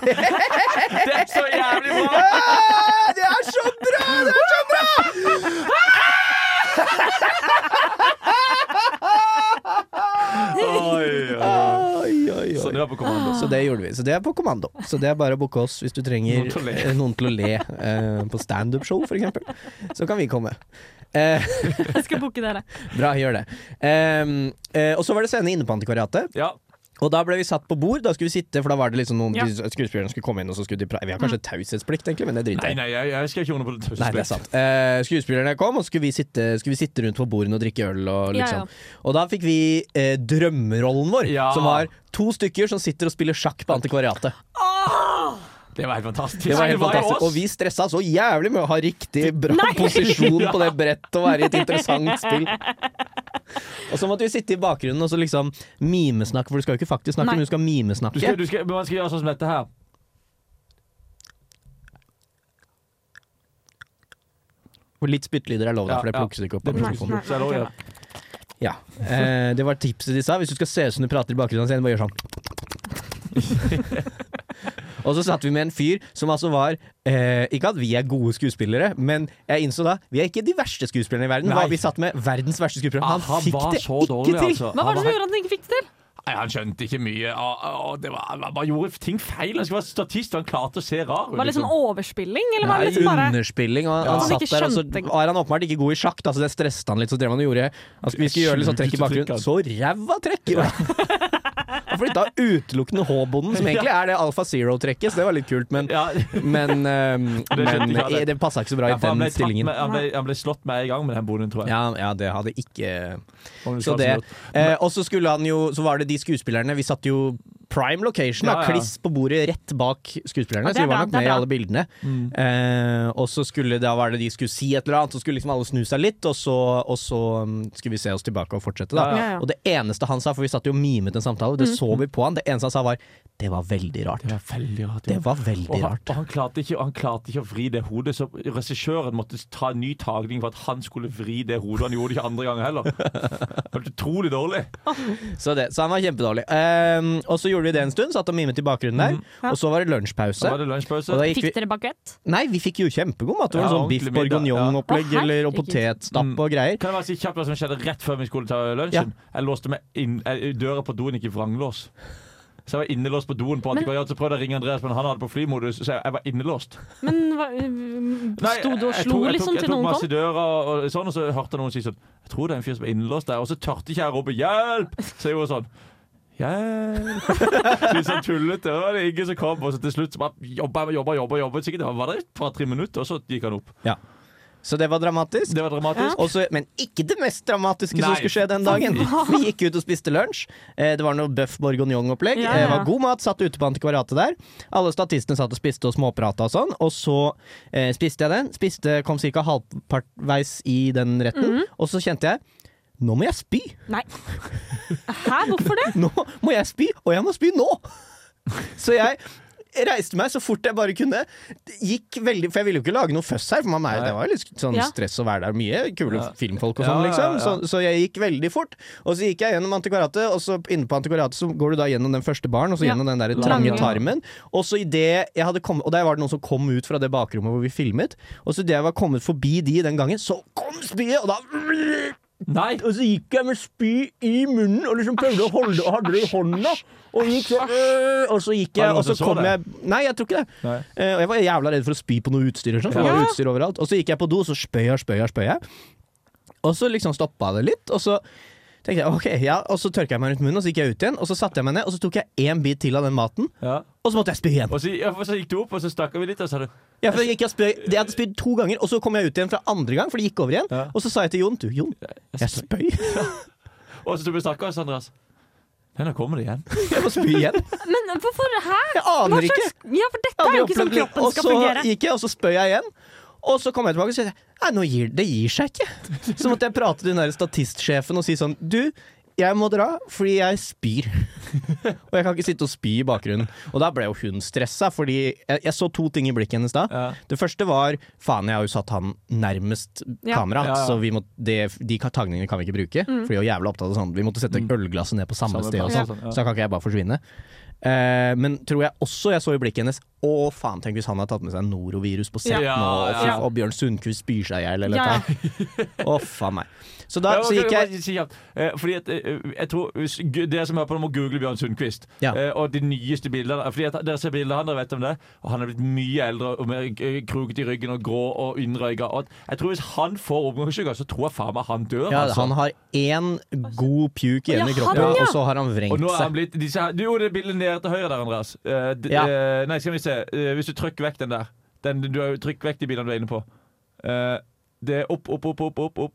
C: Det er så jævlig bra!
E: Det er så bra! Det er så bra!
C: Oi, oi.
E: Oi, oi,
C: Så det
E: oi.
C: var på kommando.
E: Så det gjorde vi. Så det er på kommando. Så det er bare å booke oss hvis du trenger
C: Noen til å le.
E: eh, noen til å le eh, på standup-show, f.eks. Så kan vi komme. Eh,
D: Jeg skal booke dere.
E: bra, gjør det. Ehm, eh, og så var det scene inne på Antikvariatet.
C: Ja.
E: Og da ble vi satt på bord. Da skulle vi sitte, for da var det liksom noen
D: Ja.
E: de- skuespillerne skulle komme inn, og så skulle de pra Vi har kanskje taushetsplikt, egentlig, men det driter jeg i.
C: Mm. Nei, nei, jeg, jeg skal ikke under på det
E: Nei, det er sant. Eh, skuespillerne kom, og så skulle vi sitte, skulle vi sitte rundt på bordene og drikke øl. Og,
D: Ja,
E: liksom.
D: ja.
E: og da fikk vi eh, drømmerollen vår,
C: Ja.
E: som var to stykker som sitter og spiller sjakk på antikvariatet.
C: Det var helt fantastisk.
E: Det var helt
C: jo
E: fantastisk.
C: oss.
E: Og vi stressa så jævlig med å ha riktig bra posisjon på det brettet og være i et interessant spill. Og så måtte vi sitte i bakgrunnen og så liksom mimesnakke, for du skal jo ikke faktisk snakke,
D: Nei.
E: men du skal
C: du skal,
E: mimesnakke.
C: du skal, men man skal gjøre sånn som dette her.
E: Og litt spyttlyder er lov, da,
C: Ja,
E: for det
C: ja.
E: plukkes ikke opp
C: Det
E: på
C: plukkes
E: mikrofonen.
C: Så er det også, ja.
E: Ja. Eh, det var tipset de sa. Hvis du skal se ut som du prater i bakgrunnen av scenen, bare gjør sånn. og så satt vi med en fyr som altså var eh, Ikke at vi er gode skuespillere, men jeg innså da vi er ikke de verste skuespillerne i verden.
C: Nei.
E: Hva vi satt med verdens verste skuespiller.
C: Ah,
E: Han, fikk
C: var
E: det
C: så
E: ikke
C: dårlig,
E: til!
C: altså.
D: Hva var det
C: Han
D: som gjorde at dere ikke fikk det til?
C: Nei, Han skjønte ikke mye. og- og det var, han bare gjorde ting feil. Han skulle være statist, og han klarte å se rar ut.
D: Var det liksom
E: sånn-
C: liksom.
D: overspilling, eller var
E: Nei,
D: det liksom bare
E: underspilling. Og han
D: Ja. Han
E: satt
D: ikke
E: der, og så
D: skjønte-
E: var han åpenbart ikke god i sjakk, da, så det stresset han litt. Så drev han og gjorde altså, Vi skulle gjøre litt sånn trekk i bakgrunnen. Så ræva trekk! Ja. Han flytta utelukkende H-bonden, som egentlig er det Alfa Zero-trekket, så det var litt kult, men
C: Ja,
E: Men, ehm,
C: Det skjønte
E: men
C: ikke jeg.
E: eh, det passa ikke så bra
C: ja,
E: i
C: for han,
E: den
C: ble tatt
E: stillingen.
C: med, han, ble, han ble slått med en gang med den bonden, tror jeg.
E: Ja, ja, det hadde ikke
C: Om
E: Så
C: du skal ha
E: det
C: sånn gjort.
E: eh, Og så skulle han jo Så var det de skuespillerne Vi satt jo prime location, da.
C: Ja, ja.
E: Kliss på bordet rett bak skuespillerne,
D: Ja, det
E: så
D: er
E: vi var nok
D: bra, det
E: med
D: er
E: i
D: bra.
E: alle bildene. Eh, og så skulle da var det de skulle si et eller annet, så skulle liksom alle snu seg litt, og så, og så mm, skulle vi se oss tilbake og fortsette, da.
C: Ja,
D: ja.
E: Og det eneste han sa, for vi satt jo og mimet en samtale,
D: Mm.
E: det så vi på han, det eneste han sa var 'det var veldig rart'.
C: Det var veldig rart.
E: Det var veldig
C: og han,
E: rart.
C: og han, klarte ikke, og han klarte ikke å vri det hodet, så regissøren måtte ta en ny tagning for at han skulle vri det hodet. Han gjorde det ikke andre ganger heller. Det var utrolig dårlig.
E: Så, det, så han var kjempedårlig. Ehm, og så gjorde vi det en stund, satt og mimet i bakgrunnen der.
D: Ja.
E: Og så var det
C: Så
E: lunsjpause.
C: Mhm. var det lunsjpause.
E: Og da gikk
D: Fikk
E: vi,
D: dere baguett?
E: nei, vi fikk jo kjempegod mat. Det var
C: Ja, Mm.
E: sånn biff
C: ordentlig middag,
E: bourguignon-opplegg
D: ja. Å,
E: eller og
D: herregud.
E: potetstapp og greier.
C: Kan jeg bare si kjapt hva som skjedde rett før vi skulle ta lunsjen? Jeg låste meg inn, jeg, døra på doen gikk i vranglås. Så jeg var innelåst på doen på antikvariat. Så prøvde jeg å ringe Andreas, men han hadde på flymodus, så jeg, jeg var innelåst.
D: Men hva, eh, sto du og
C: jeg
D: slo
C: tok- jeg
D: liksom
C: tok- Jeg
D: til noen
C: tok masse
D: kom?
C: i døra, og, og, sånn, og så hørte jeg noen si sånn Jeg tror det er en fyr som er innelåst der. Og så tørte ikke jeg å rope 'hjelp', så jeg gjorde sånn. Hjelp Litt sånn tullete. Og det var ingen som kom. Og så til slutt så bare jobba jeg, jobba, jobba, jobba. Sikkert det var det et par-tre minutter, og så gikk han opp.
E: Så det var dramatisk.
C: Det var dramatisk.
E: Og så- men ikke det mest dramatiske som
C: Nei.
E: skulle skje den dagen. Vi gikk ut og spiste lunsj. Eh, Det var noe bøff bourguignon-opplegg. Eh,
D: Ja,
E: Det
D: ja.
E: var god mat. Satt ute på antikvariatet der. Alle statistene satt og spiste og småprata og sånn. Og så eh, spiste jeg den. Spiste, kom ca. halvpartveis i den
C: Mhm.
E: retten. Og så kjente jeg Nå må jeg spy!
D: Nei. Hæ, hvorfor det?
E: Nå må jeg spy, og jeg må spy nå! Så jeg reiste meg så fort jeg bare kunne. Gikk veldig, For jeg ville jo ikke lage noe føss her, for man er,
C: Nei.
E: det var jo litt sånn
D: Ja.
E: stress å være der. Mye kule
C: Ja.
E: filmfolk og
C: Ja,
E: sånn,
C: ja,
E: liksom.
C: ja.
E: Så, så jeg gikk veldig fort. Og så gikk jeg gjennom antikvariatet, og så inne på antikvariatet så går du da gjennom den første baren, og så
D: Ja.
E: gjennom den der
D: Lange.
E: trange tarmen. Og så i det jeg hadde kommet Og der var det noen som kom ut fra det bakrommet hvor vi filmet. Og så idet jeg var kommet forbi de den gangen, så kom spyet, og da
C: Nei!
E: og så gikk jeg med spy i munnen og liksom prøvde å holde og hadde det i hånda. Og, gikk så, øh, og så gikk jeg,
C: Var det noen
E: og så
C: som så
E: kom
C: det?
E: jeg Nei, jeg tror ikke det.
C: Nei.
E: Eh, Og jeg var jævla redd for å spy på noe utstyr, og sånn, for det var jo utstyr overalt. Og så gikk jeg på do, og så spøy jeg, spøy jeg, spøy jeg. Og så liksom stoppa det litt, og så tenkte jeg ok, ja, og så tørka jeg meg rundt munnen, og så gikk jeg ut igjen, og så satte jeg meg ned, og så tok jeg én bit til av den maten,
C: Ja.
E: og så måtte jeg spy igjen.
C: Og så, ja, for så gikk du opp, og så snakka vi litt, og så sa du
E: Ja, for jeg, gikk- jeg, spøy, jeg hadde spydd to ganger, og så kom jeg ut igjen fra andre gang, for det gikk over igjen.
C: Ja.
E: Og så sa jeg til Jon, du Jon, jeg spøy.
C: Og så tok vi snakka, og så Andreas Nei, nå kommer det igjen.
E: Jeg må spy igjen.
D: Men hvorfor her?
E: Jeg aner ikke.
D: Ja, for dette
E: Jeg
D: er
E: hadde
D: jo ikke
E: opplevd litt,
D: sånn kroppen skal fungere.
E: Og så gikk jeg, og så spøy jeg igjen. Og så kom jeg tilbake og sa Nei, nå gir, det gir seg ikke. Så måtte jeg prate til den der statistsjefen og si sånn Du, jeg må dra fordi jeg spyr. og jeg kan ikke sitte og spy i bakgrunnen. Og da ble jo hun stressa, fordi jeg, jeg så to ting i blikket hennes da.
C: Ja.
E: Det første var faen, jeg har jo satt han nærmest
D: Ja. Mm.
E: kamera,
C: Ja, ja.
E: så vi må, det, de tagningene kan vi ikke bruke. For de var jævla opptatt av sånn. Vi måtte sette ølglasset ned på samme,
C: Mm. Samme
E: sted, og
C: plass,
E: sånn,
C: ja.
E: så da kan ikke jeg bare forsvinne. Eh, men tror jeg også jeg så i blikket hennes Å, faen, tenk hvis han har tatt med seg norovirus på sett
C: Ja,
E: nå, og, fy-
C: ja.
E: og Bjørn Sundquist spyr seg i hjel, eller
D: Ja,
E: noe. Å, faen meg. Så da
C: Ja,
E: så
C: ok,
E: gikk jeg
C: bare si kjapt. Eh, Fordi at eh, jeg tror hvis gu- Dere som hører på, nå må google Bjørn Sundquist.
E: Ja.
C: Eh, Og de nyeste bildene. Fordi at Dere ser bilder av han, dere vet om det. Og han er blitt mye eldre og mer eh, kroket i ryggen og grå og innrøyka. Og jeg tror hvis han får omgangssyke, så tror jeg faen meg han dør.
E: ja,
C: altså.
E: Han har én god puke igjen
D: Ja,
E: i kroppen,
D: han, ja.
E: og så har han
C: og
E: vrengt
C: nå er han
E: seg.
C: blitt disse her, Jo, det er bildet nede til høyre der, Andreas. Eh, d-
E: Ja.
C: eh, nei, skal vi se. Eh, hvis du trykker vekk den der. Den, du har jo trykk vekk de bildene du er inne på. Eh, det er opp, opp, opp, opp, opp. opp.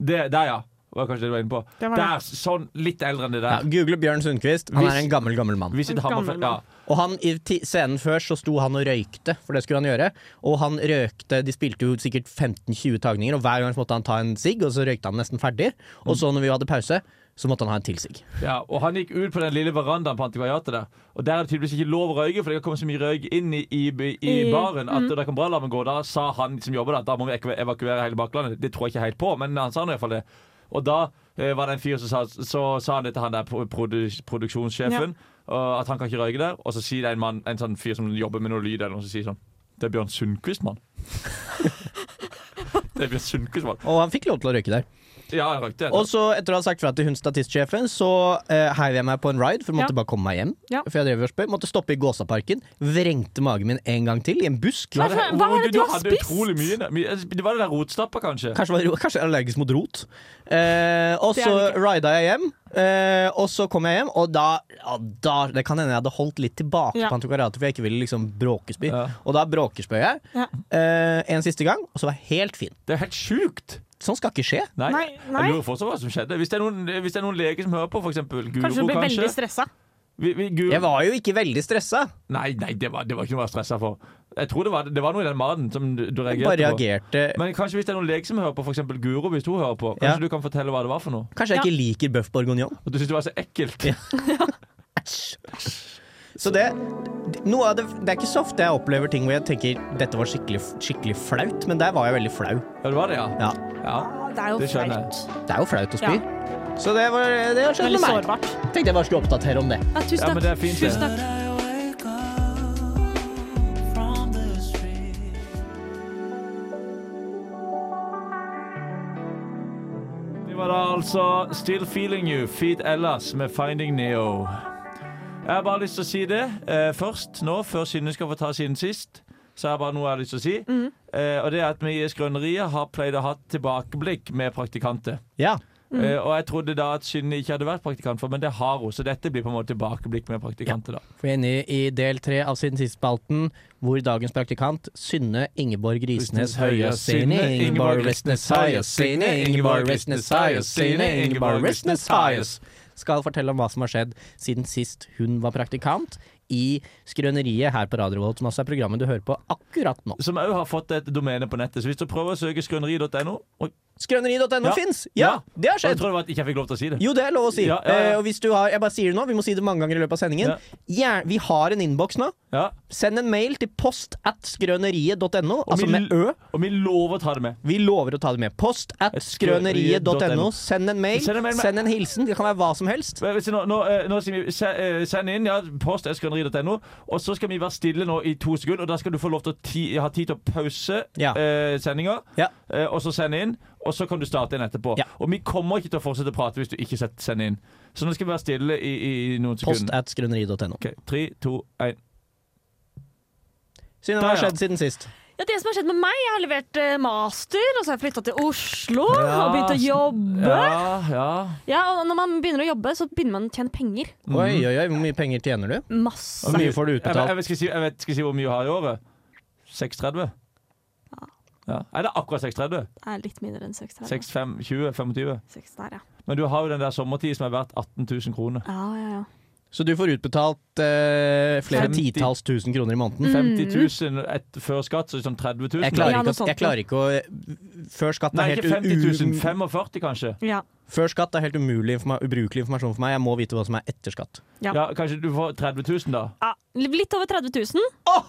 C: Det, der, ja. Var kanskje det du var inne på.
D: Det var det.
C: Der! Sånn litt eldre enn det
E: Ja,
C: der.
E: Google Bjørn Sundquist. Han
C: Hvis-
E: er en gammel, gammel mann.
C: Hvis
D: En
C: ikke
D: gammel
C: Hammerfell ja.
D: mann.
E: Og han, I ti- scenen før så sto han og røykte, for det skulle han gjøre. Og han røykte, De spilte jo sikkert 15-20 tagninger, og hver gang så måtte han ta en sigg, og så røykte han nesten ferdig. Og så når vi hadde pause, så måtte han ha en til sigg.
C: Ja, og han gikk ut på den lille verandaen på antikvariatet der. Og der er det tydeligvis ikke lov å røyke, for det har kommet så mye røyk inn i, i, i
D: I-
C: baren at der kan brannalarmen gå. Da sa han som jobber der at da må vi eku- evakuere hele baklandet. Det tror jeg ikke helt på, men han sa nå iallfall det. Og da eh, var det en fyr som sa, så sa han det til han der pro- produ, produksjonssjefen, og at han kan ikke røyke der. Og så sier det en, mann, en sånn fyr som jobber med noe lyd, eller noe som sier sånn Det er Bjørn Sundquist, mann. det er Bjørn Sundquist, mann.
E: Og han fikk lov til å røyke der.
C: Ja, han røykte.
E: Og så, etter å ha sagt fra til hun statistsjefen, så eh, heiv jeg meg på en ride, for jeg måtte
D: Ja.
E: bare komme meg hjem.
D: Ja.
E: For jeg drev og spøy. Måtte stoppe i Gåsaparken. Vrengte magen min en gang til i en busk.
D: Hva er det- hva er det du har
C: hadde
D: spist?
C: utrolig mye. mye- Det var det der rotstappa, kanskje.
E: Kanskje, var, kanskje jeg er allergisk mot rot. Eh, og
D: Det
E: så
D: er det
E: rida jeg hjem, eh, og så kom jeg hjem, og da, ja, da Det kan hende jeg hadde holdt litt tilbake
D: Ja.
E: på antikvariatet, for jeg ikke ville liksom bråkespy.
C: Ja.
E: Og da bråkespøy jeg
D: Ja.
E: eh, en siste gang, og så var jeg helt fin.
C: Det er helt sjukt!
E: Sånn skal ikke skje.
C: Nei.
D: Nei, nei.
C: Jeg lurer fortsatt hva som skjedde. Hvis det er noen, hvis det er noen leger som hører på, f.eks. Guro,
D: Kanskje du blir
C: kanskje.
D: veldig stressa.
C: Vi, vi, Guro-
E: Jeg var jo ikke veldig stressa,
C: Nei, nei det, var, det var ikke noe å være stressa for. Jeg tror det var, det var noe i den maten som du, du
E: jeg
C: reagerte
E: bare
C: på.
E: reagerte.
C: Men kanskje hvis det er noen leger som hører på, f.eks. Guro, hvis hun hører på,
E: Ja.
C: kanskje du kan fortelle hva det var for noe?
E: Kanskje jeg
D: Ja.
E: ikke liker bøff bourguignon.
C: At du syntes det var så ekkelt?
E: Så det noe av det, det er ikke så ofte jeg opplever ting hvor jeg tenker dette var skikkelig, skikkelig flaut, men der var jeg veldig flau.
C: Ja, det var det, ja.
E: Ja,
C: ja.
D: Det er jo
C: Det skjønner jeg.
D: flaut.
E: Det er jo flaut å spy.
D: Ja.
E: Så det, var, det har skjedd
D: Veldig
E: med meg.
D: sårbart.
E: Tenkte jeg bare skulle oppdatere om det.
D: Ja, tusen
C: Ja, men
D: takk.
C: det er fint, det.
D: tusen takk.
C: Det var da altså Still Feeling You, Feet Ellas med Finding Neo. Jeg har bare lyst til å si det eh, først nå, før Synne skal få ta siden sist. Så er det bare noe jeg har lyst til å si.
D: Mm.
C: Eh, og det er at vi i Skrøneriet har pleid å ha tilbakeblikk med praktikanter.
E: Ja.
C: Eh, og jeg trodde da at Synne ikke hadde vært praktikant for, men det har hun. Så dette blir på en måte tilbakeblikk med praktikanter, da.
E: For vi er inne i del tre av siden sist-spalten, hvor dagens praktikant Synne Ingeborg Risnes Høie Synne Ingeborg Risnes Høie Synne Ingeborg Risnes Høie Synne Ingeborg Risnes Høie skal fortelle om hva som har skjedd siden sist hun var praktikant i Skrøneriet her på Radio Volt, som altså er programmet du hører på akkurat nå.
C: Som òg har fått et domene på nettet. Så hvis du prøver å søke skrøneri.no Oi,
E: Skrøneri.no
C: Ja.
E: finnes fins! Ja, det
C: Ja.
E: har
C: Og Jeg
E: skjedd!
C: tror det var at ikke jeg fikk lov til å si det.
E: Jo, det er lov å si.
C: Ja, ja, ja.
E: Eh, og hvis du har, jeg bare sier det nå, vi må si det mange ganger i løpet av sendingen. Gjerne- vi har en innboks nå.
C: Ja.
E: Send en mail til post at skrøneriet.no, altså
C: vi
E: med ø.
C: Og vi lover å ta det med.
E: Vi lover å ta det med. Post at skrøneriet.no. Send en mail,
C: Send en mail med-
E: send en hilsen. Det kan være hva som helst.
C: Vel, hvis- Nå, nå, eh, nå sier vi se- eh, send inn ja, post skrøneri.no, og så skal vi være stille nå i to sekunder. Og da skal du få lov til å ti, ha tid til å pause
E: Ja.
C: eh, sendinga,
E: Ja.
C: eh, og så sende inn. Og så kan du starte inn etterpå.
E: Ja.
C: Og vi kommer ikke til å fortsette å prate hvis du ikke set- sender inn. Så nå skal vi være stille i, i noen
E: Post
C: sekunder.
E: at skrøneriet.no.
C: Ok, Tre, to, én.
E: Synne,
C: Der,
E: hva har
C: ja.
E: skjedd siden sist?
D: Ja, det som har skjedd med meg, jeg har levert eh, master, og så har jeg flytta til Oslo
C: Ja.
D: og begynt å jobbe. Ja.
C: Ja, ja.
D: og når man begynner å jobbe, så begynner man å tjene penger.
C: Mhm.
E: Oi, oi, oi, hvor mye penger tjener du?
D: Masse.
E: Hvor mye får du
C: Mm. Jeg, vet- jeg,
E: utbetalt?
C: vet- skal, jeg si, jeg vet, skal jeg si hvor mye hun har i året? 6,30? Ja. Er det er akkurat 6,30?
D: Det er litt mindre enn 6 der.
C: 6, 5, 20, 25?
D: Seks der, ja.
C: Men du har jo den der sommertid som er verdt 18 000 kroner.
D: Ja, ja, ja.
E: Så du får utbetalt eh, flere
C: 50.
E: titalls tusen kroner i
D: Mm.
C: Mm.
E: måneden?
C: 50 000 et, før skatt, så sånn 30
E: Jeg
C: 000.
D: Ja,
E: klarer ikke,
D: noe
E: å- jeg
D: sånt,
E: klarer ikke å Før skatt
C: Nei,
E: er
C: ikke
E: helt
C: 50 000.
E: u-
C: 45 kanskje.
D: ja.
E: Før skatt er helt umulig informa ubrukelig informasjon for meg. Jeg må vite hva som er etter skatt.
D: Ja.
C: Ja, kanskje du får 30 000, da.
D: ja. Ah, Litt over 30 000.
C: Og,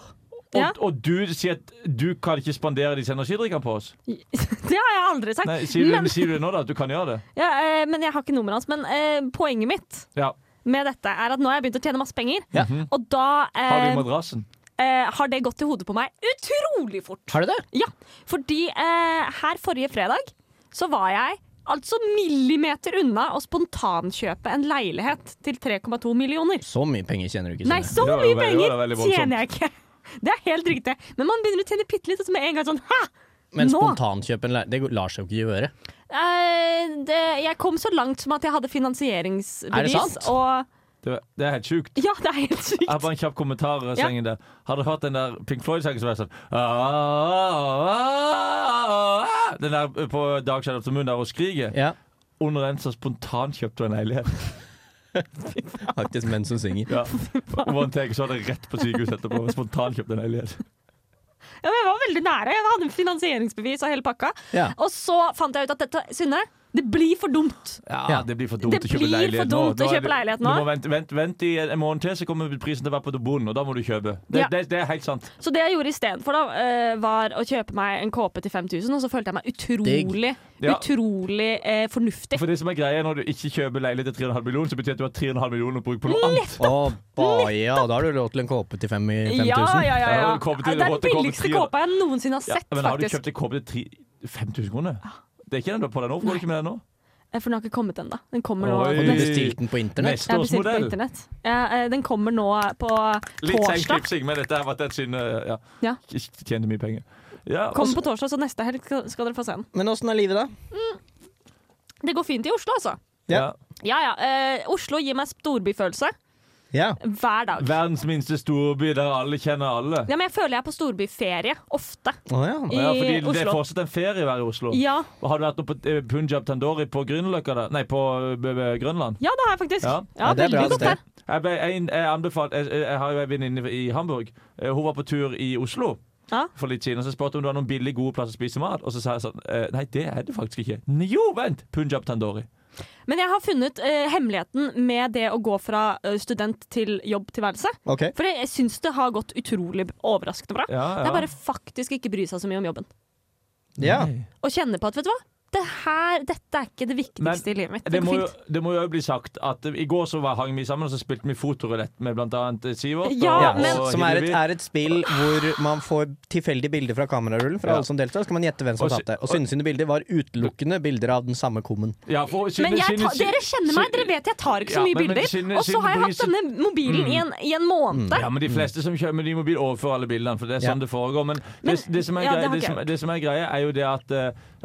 D: Ja.
C: og du sier at du kan ikke spandere disse energidrikkene på oss?
D: Det har jeg aldri sagt.
C: Nei, sier du,
D: men,
C: sier du det nå, da? At du kan gjøre det?
D: ja, eh, men jeg har ikke nummeret hans. Men eh, poenget mitt
C: Ja.
D: med dette er at nå har jeg begynt å tjene masse penger,
E: Ja.
D: og da eh,
C: Har du
D: har,
C: madrassen?
D: eh, har det gått i hodet på meg utrolig fort.
E: Har du det?
D: Ja, fordi eh, her forrige fredag så var jeg altså millimeter unna å spontankjøpe en leilighet til 3,2 millioner.
E: Så mye penger tjener du ikke.
D: Nei,
E: Synne.
D: så
C: Det var jo
D: mye
C: veldig- det var
D: penger
C: veldig voldsomt.
D: tjener jeg ikke! Det er helt riktig. Men man begynner å tjene bitte litt, og så med en gang sånn Hæ!
E: Men
D: Nå!
E: spontankjøp en lei- det går- lar seg jo ikke gjøre.
D: Eh, det, jeg kom så langt som at jeg hadde finansieringsbevis.
E: Er det sant?
D: Og
C: Det, det er helt sjukt.
D: ja, det er helt
C: Jeg har
D: sykt.
C: bare en kjapp kommentar i sengen der. Har du hørt den der Pink Floyd-sangen som er sånn «Ah-ah-ah-ah-ah-ah?» «Ah, Den der eh, på Dag Shadow of the Moon der hun skriker.
E: Ja,
C: Under den så spontant kjøpte hun en leilighet.
E: faktisk mens hun synger.
C: Ja. One take, så var det rett på sykehuset etterpå. Spontant kjøpte en leilighet.
D: Ja, men jeg var veldig nære. Jeg hadde finansieringsbevis og hele pakka.
E: Ja.
D: Og så fant jeg ut at dette, Synne, det blir for dumt.
C: Ja, det blir for dumt
D: Det
C: å kjøpe
D: blir
C: leilighet
D: for
C: nå.
D: dumt
C: Nå
D: å
C: er
D: kjøpe leilighet
C: Du
D: nå.
C: må vente, vent, vent i en måned til, så kommer prisen til å være på bonden, og da må du kjøpe. Det,
D: Ja.
C: det, det er helt sant.
D: Så det jeg gjorde istedenfor, da, eh, var å kjøpe meg en kåpe til 5000, og så følte jeg meg utrolig,
C: Ja.
D: utrolig eh, fornuftig.
C: For det som er greia når du ikke kjøper leilighet til 3,5 millioner, så betyr det at du har 3,5 millioner å bruke på noe annet.
E: Å, baja, da har du råd til en kåpe til fem i
D: Ja,
E: 5000.
D: ja, ja, ja.
C: Ja, kåpe til-
D: Det er den
C: kåpe til
D: billigste
C: tiere.
D: kåpa jeg noensinne har
C: Ja,
D: sett,
C: men har du
D: faktisk. Ah.
C: kjøpt en kåpe til 5000 kroner? Det er ikke den du har på deg nå? Hvorfor Går det ikke med den nå?
D: Eh, For den har ikke kommet ennå. Den kommer nå.
C: Oi.
D: og
E: Du
D: den-
E: bestilte den på internett.
D: Jeg
C: Neste
D: har
C: års
D: bestilt på
C: modell.
D: internett. Ja, eh, den kommer nå på
C: Litt
D: torsdag.
C: selvknipsing, men dette har vært et synd. eh, Ja.
D: Ja.
C: Ikke Tjente mye penger. Ja,
D: Kom
C: også-
D: på torsdag, så neste helg skal skal dere få se den.
E: Men åssen er livet, da?
D: Det går fint i Oslo, altså.
C: ja.
D: Ja ja. Eh, Oslo gir meg storbyfølelse
E: Ja.
D: hver dag.
C: Verdens minste storby der alle kjenner alle.
D: Ja, men jeg føler jeg er på storbyferie ofte
E: Å, ja.
D: i
C: Ja, fordi Det er
D: Oslo.
C: fortsatt en ferie å være i Oslo.
D: Ja.
C: Og Har du vært nå på eh, Punjab Tandori på Grünerløkka? der? Nei, på eh, b- b- Grønland?
D: ja, det har jeg faktisk.
C: Ja.
D: Ja,
E: Ja, det er bra
D: veldig godt
E: sted.
D: der.
C: Jeg, ble, jeg, jeg, anbefalt, jeg, jeg har jo en venninne i Hamburg. Eh, Hun var på tur i Oslo.
D: Ja.
C: For litt siden, og Så spurte hun om det var noen billig gode plasser å spise mat. Og så sa jeg sånn eh, Nei, det er det faktisk ikke. Jo, vent! Punjab Tandori.
D: Men jeg har funnet eh, hemmeligheten med det å gå fra eh, student til jobbtilværelse.
E: OK.
D: For jeg, jeg syns det har gått utrolig overraskende bra.
C: Ja, ja.
D: Det er bare faktisk ikke bry seg så mye om jobben.
E: Ja.
C: Nei.
D: Og kjenne på at vet du hva, det her, dette er ikke det viktigste i livet mitt. Det
C: Det må,
D: går
C: jo,
D: fint.
C: det må jo også bli sagt at eh, i går så var, hang vi sammen og så spilte vi fotorulett med bl.a. Sivert.
D: Ja,
E: Ja,
C: og,
D: men-
C: og
E: som er et,
C: Hillevi.
E: er et spill hvor man får tilfeldige bilder fra kamerarullen. Fra
C: Ja.
E: alle som deltar, så skal man gjette hvem som
C: Og
E: har
C: sy-
E: tatt det. Og Synne sine bilder var utelukkende bilder av den samme kummen.
C: ja, for, Synne-
D: Men jeg
C: Synne-
D: tar- dere kjenner meg, dere vet jeg tar ikke så
C: Ja,
D: mye
C: men- men
D: bilder.
C: Synne-
D: Og så har jeg
C: Synne
D: hatt
C: Bryse-
D: denne mobilen i en, i en måned.
C: Mm. Ja, men De fleste som kjører med de mobil, overfører alle bildene. For Det er sånn
E: Ja.
C: det foregår. Men,
D: Men-
C: det, det, som er
D: ja, det
C: greia,
D: har
C: det,
D: ikke
C: som,
D: jeg
C: det som er greia, er jo det at,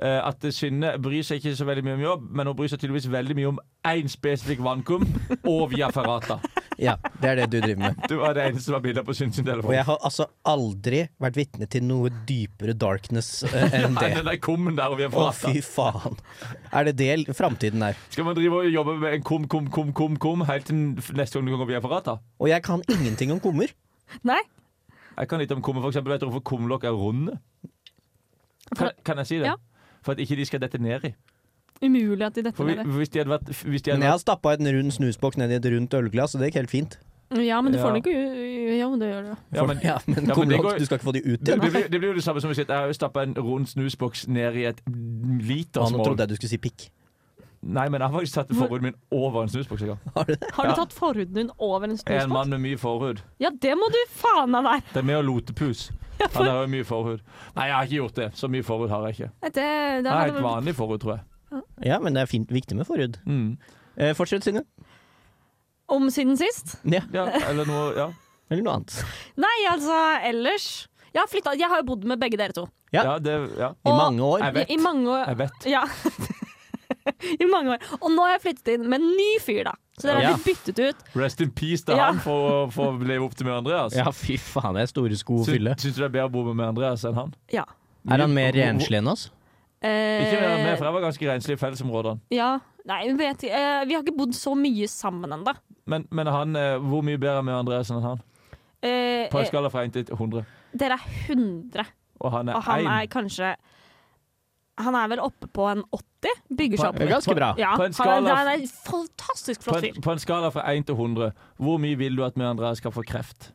C: eh, at Synne bryr seg ikke så veldig mye om jobb, men hun bryr seg tydeligvis veldig mye om én spesifikk vannkum og Via Ferrata.
E: Ja, det er det du driver med.
C: Det var det eneste som var bilder på Synne sin
E: Og
C: telefon.
E: jeg har altså aldri vært vitne til noe dypere darkness eh, enn
C: Nei,
E: det.
C: den der kummen der og Via
E: Å,
C: Ferrata.
E: fy faen. Er det det framtiden er?
C: Skal man drive og jobbe med en kum, kum, kum, kum, kum helt til neste gang du går Via Ferrata?
E: Og jeg kan ingenting om kummer.
D: Nei,
C: Jeg kan litt om kummer, for eksempel. Vet du hvorfor kumlokk er runde? Kan, kan jeg si det?
D: Ja.
C: for at ikke de skal dette ned i.
D: Umulig at de
C: For vi,
D: detter ned.
C: hvis de hadde vært hvis de
E: Men jeg
C: hadde vært,
E: har stappa en rund snusboks ned i et rundt ølglass, og det gikk helt fint.
D: Ja, men du får
C: Ja.
D: den ikke u- Ja, men det gjør du.
C: ja, men,
E: Ja, men
C: Ja, men
E: kom
C: det
E: langt,
C: går-
E: du skal ikke få de ut
C: det,
E: igjen.
C: blir, det blir jo det samme som hvis jeg har stappa en rund snusboks ned i et
E: Han
C: litersmål
E: trodde jeg du skulle si pikk.
C: Nei, men jeg har faktisk tatt forhuden min over en snusboks en gang.
E: Har du det?
D: Har
C: Ja.
D: du tatt forhuden din over en
C: Jeg er en
D: snusboks?
C: mann med mye forhud.
D: Ja, det må du faen meg være!
C: Det er med å lotepus. Han har jo mye forhud. Nei, jeg har ikke gjort det. Så mye forhud har jeg ikke.
D: Det, det,
C: Jeg har helt
D: hadde-
C: vanlig forhud, tror jeg.
E: Ja, men det er fint, viktig med forhud.
C: Mm.
E: Eh, fortsett, Synne.
D: om siden sist?
E: Ja,
C: Ja, eller noe Ja.
E: eller noe annet.
D: Nei, altså, ellers Jeg har, flyttet, jeg har jo bodd med begge dere to.
E: Ja.
C: ja, det, ja.
E: I
D: Og-
E: mange år.
C: Jeg vet.
D: I, i mange år.
C: Jeg vet.
D: Ja. I mange år. Og nå har jeg flyttet inn med en ny fyr, da. Så dere
E: Ja.
D: har blitt byttet ut.
C: Rest in peace til
D: Ja.
C: han for, å- for å leve opp til med Andreas.
E: Ja, fy faen, det er store sko å
C: Sy-
E: fylle.
C: Syns du det er bedre å bo med med Andreas enn han?
D: Ja.
E: Er han mer renslig enn oss?
D: Eh,
C: Ikke mer enn meg, for jeg var ganske renslig i fellesområdene.
D: Ja. Nei, vi vet ikke. Eh, vi har ikke bodd så mye sammen ennå.
C: Men, men han, eh, hvor mye bedre er med Andreas enn han?
D: Eh,
C: På en
D: eh,
C: skala fra 1 til 100.
D: dere er 100,
C: Og han
D: og
C: er
D: han
C: 1.
D: er kanskje Han er vel oppe på en 80? Bygger seg opp.
E: Det er ganske bra.
D: Ja,
C: På en
D: han,
C: skala-
D: er, han er en fantastisk
C: På
D: flott fyr.
C: en, på en skala fra 1 til 100, hvor mye vil du at med Andreas skal få kreft?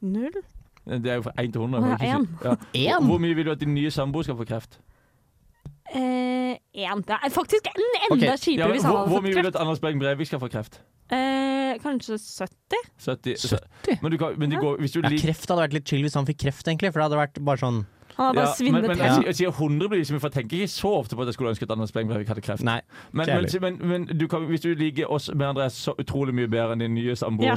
D: Null?
C: Det er jo fra 1 til 100.
D: Å,
C: jeg må
D: ja,
C: ikke si- ja.
E: Én?
C: Hvor mye vil du at din nye samboer skal få kreft?
D: Én. det er faktisk Eh, en enda
E: Ok,
C: Ja,
D: kjipere
C: men
D: hvis han
C: hvor,
D: hadde
C: hvor mye vil
D: fått
C: du
D: kreft.
C: at Anders Bergen Breivik skal få kreft?
D: Eh, kanskje 70?
C: 70. Men, du kan, men det
D: Ja.
C: går, hvis du
E: Ja,
C: liker
E: kreft hadde vært litt chill hvis han fikk kreft, egentlig. For det hadde vært bare sånn
D: Han har bare
C: Ja, men,
D: svinnet
C: men
D: helt.
C: jeg, sier- jeg sier 100 blir liksom, for jeg tenker ikke så ofte på at jeg skulle ønske at Anders Beng Breivik hadde kreft.
E: Nei.
C: men
E: ikke
C: men,
E: heller.
C: men, men du kan, hvis du liker oss med Andreas så utrolig mye bedre enn din nye samboer,
D: Ja.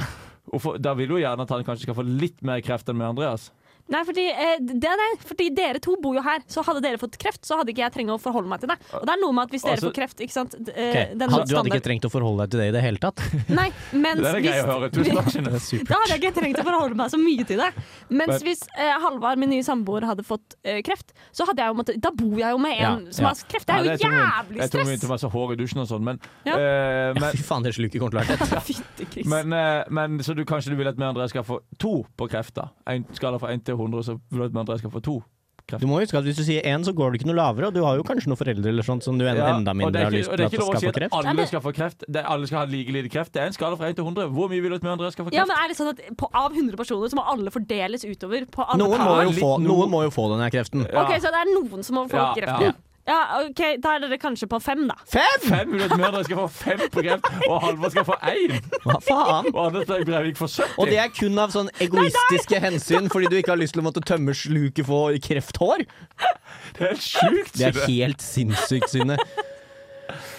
C: hvorfor- da vil du jo gjerne at han kanskje skal få litt mer kreft enn med Andreas.
D: Nei, fordi, eh, det, nei, fordi dere to bor jo her. Så hadde dere fått kreft, så hadde ikke jeg trengt å forholde meg til det. Og det er noe med at hvis dere
C: Altså-
D: får kreft, ikke sant d- eh,
E: Ok, han,
D: den
E: Du hadde ikke
D: standard-
E: trengt å forholde deg til det i det hele tatt?
D: Nei, mens
C: Det er greit å høre. Tusen takk, Synne.
D: Da hadde jeg ikke trengt å forholde meg så mye til det. Mens
C: Men-
D: hvis eh, Halvard, min nye samboer, hadde fått eh, kreft, så hadde jeg jo måttet Da bor jeg jo med en
E: Ja,
D: som
E: ja.
D: har kreft. Det er jo
C: Nei, tok meg-
D: jævlig
C: Jeg tok meg
D: stress!
C: til masse hår i dusjen og sånn, men,
D: Ja.
C: eh,
E: Ja,
C: men,
E: fy faen, det sluket kommer til å være tett.
D: Fytti gris.
C: men, eh, men Så du kanskje du vil at med Andreas skal få to på kreft, da? En skala fra 1 til 100, så vil du at med Andreas skal få to?
E: Du må huske at hvis du sier én, så går det ikke noe lavere, og du har jo kanskje noen foreldre eller sånt som du en,
C: Ja,
E: enda
C: og det
E: mindre
C: er
E: har
C: ikke-
E: lyst til
C: og det er
E: at
C: ikke lov
E: skal
C: å si
E: få kreft.
C: at
D: Nei,
C: alle
D: det-
C: skal få kreft. Det, er- alle skal ha like lite kreft. Det er en skala fra 1 til 100. Hvor mye vil du at med Andreas skal få kreft?
D: Ja, men er det sånn at på, Av 100 personer så må alle fordeles utover på alle
E: Noen må,
D: par?
E: jo få, noen må jo få denne kreften.
C: Ja.
D: Ok, Så det er noen som må få
C: Ja,
D: kreften?
C: ja.
D: Ja. OK, da er dere kanskje på fem, da.
C: Fem minutter mer, dere skal få fem på grep, og Halvor skal få én.
E: Hva faen?
C: Og Anders Berg Breivik får 70.
E: Og det er kun av sånn egoistiske hensyn, fordi du ikke har lyst til å måtte tømme sluket for krefthår.
C: Det er sjukt!
E: Det er
C: Synne.
E: helt sinnssykt, Synne.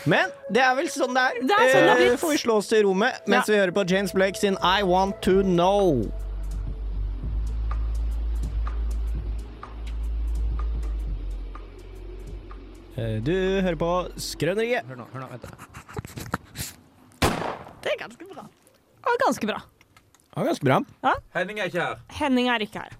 E: Men det er vel sånn det er.
D: Det er sånn det har blitt.
E: Eh, får vi slå oss til ro med mens vi hører på James Blake sin I Want To Know. Eh, Du hører på Skrøneriet. Hør nå, hør nå, vent da.
D: Det er ganske bra. Og ganske bra.
E: Det var ganske bra.
C: Henning er ikke her.
D: Henning er ikke her.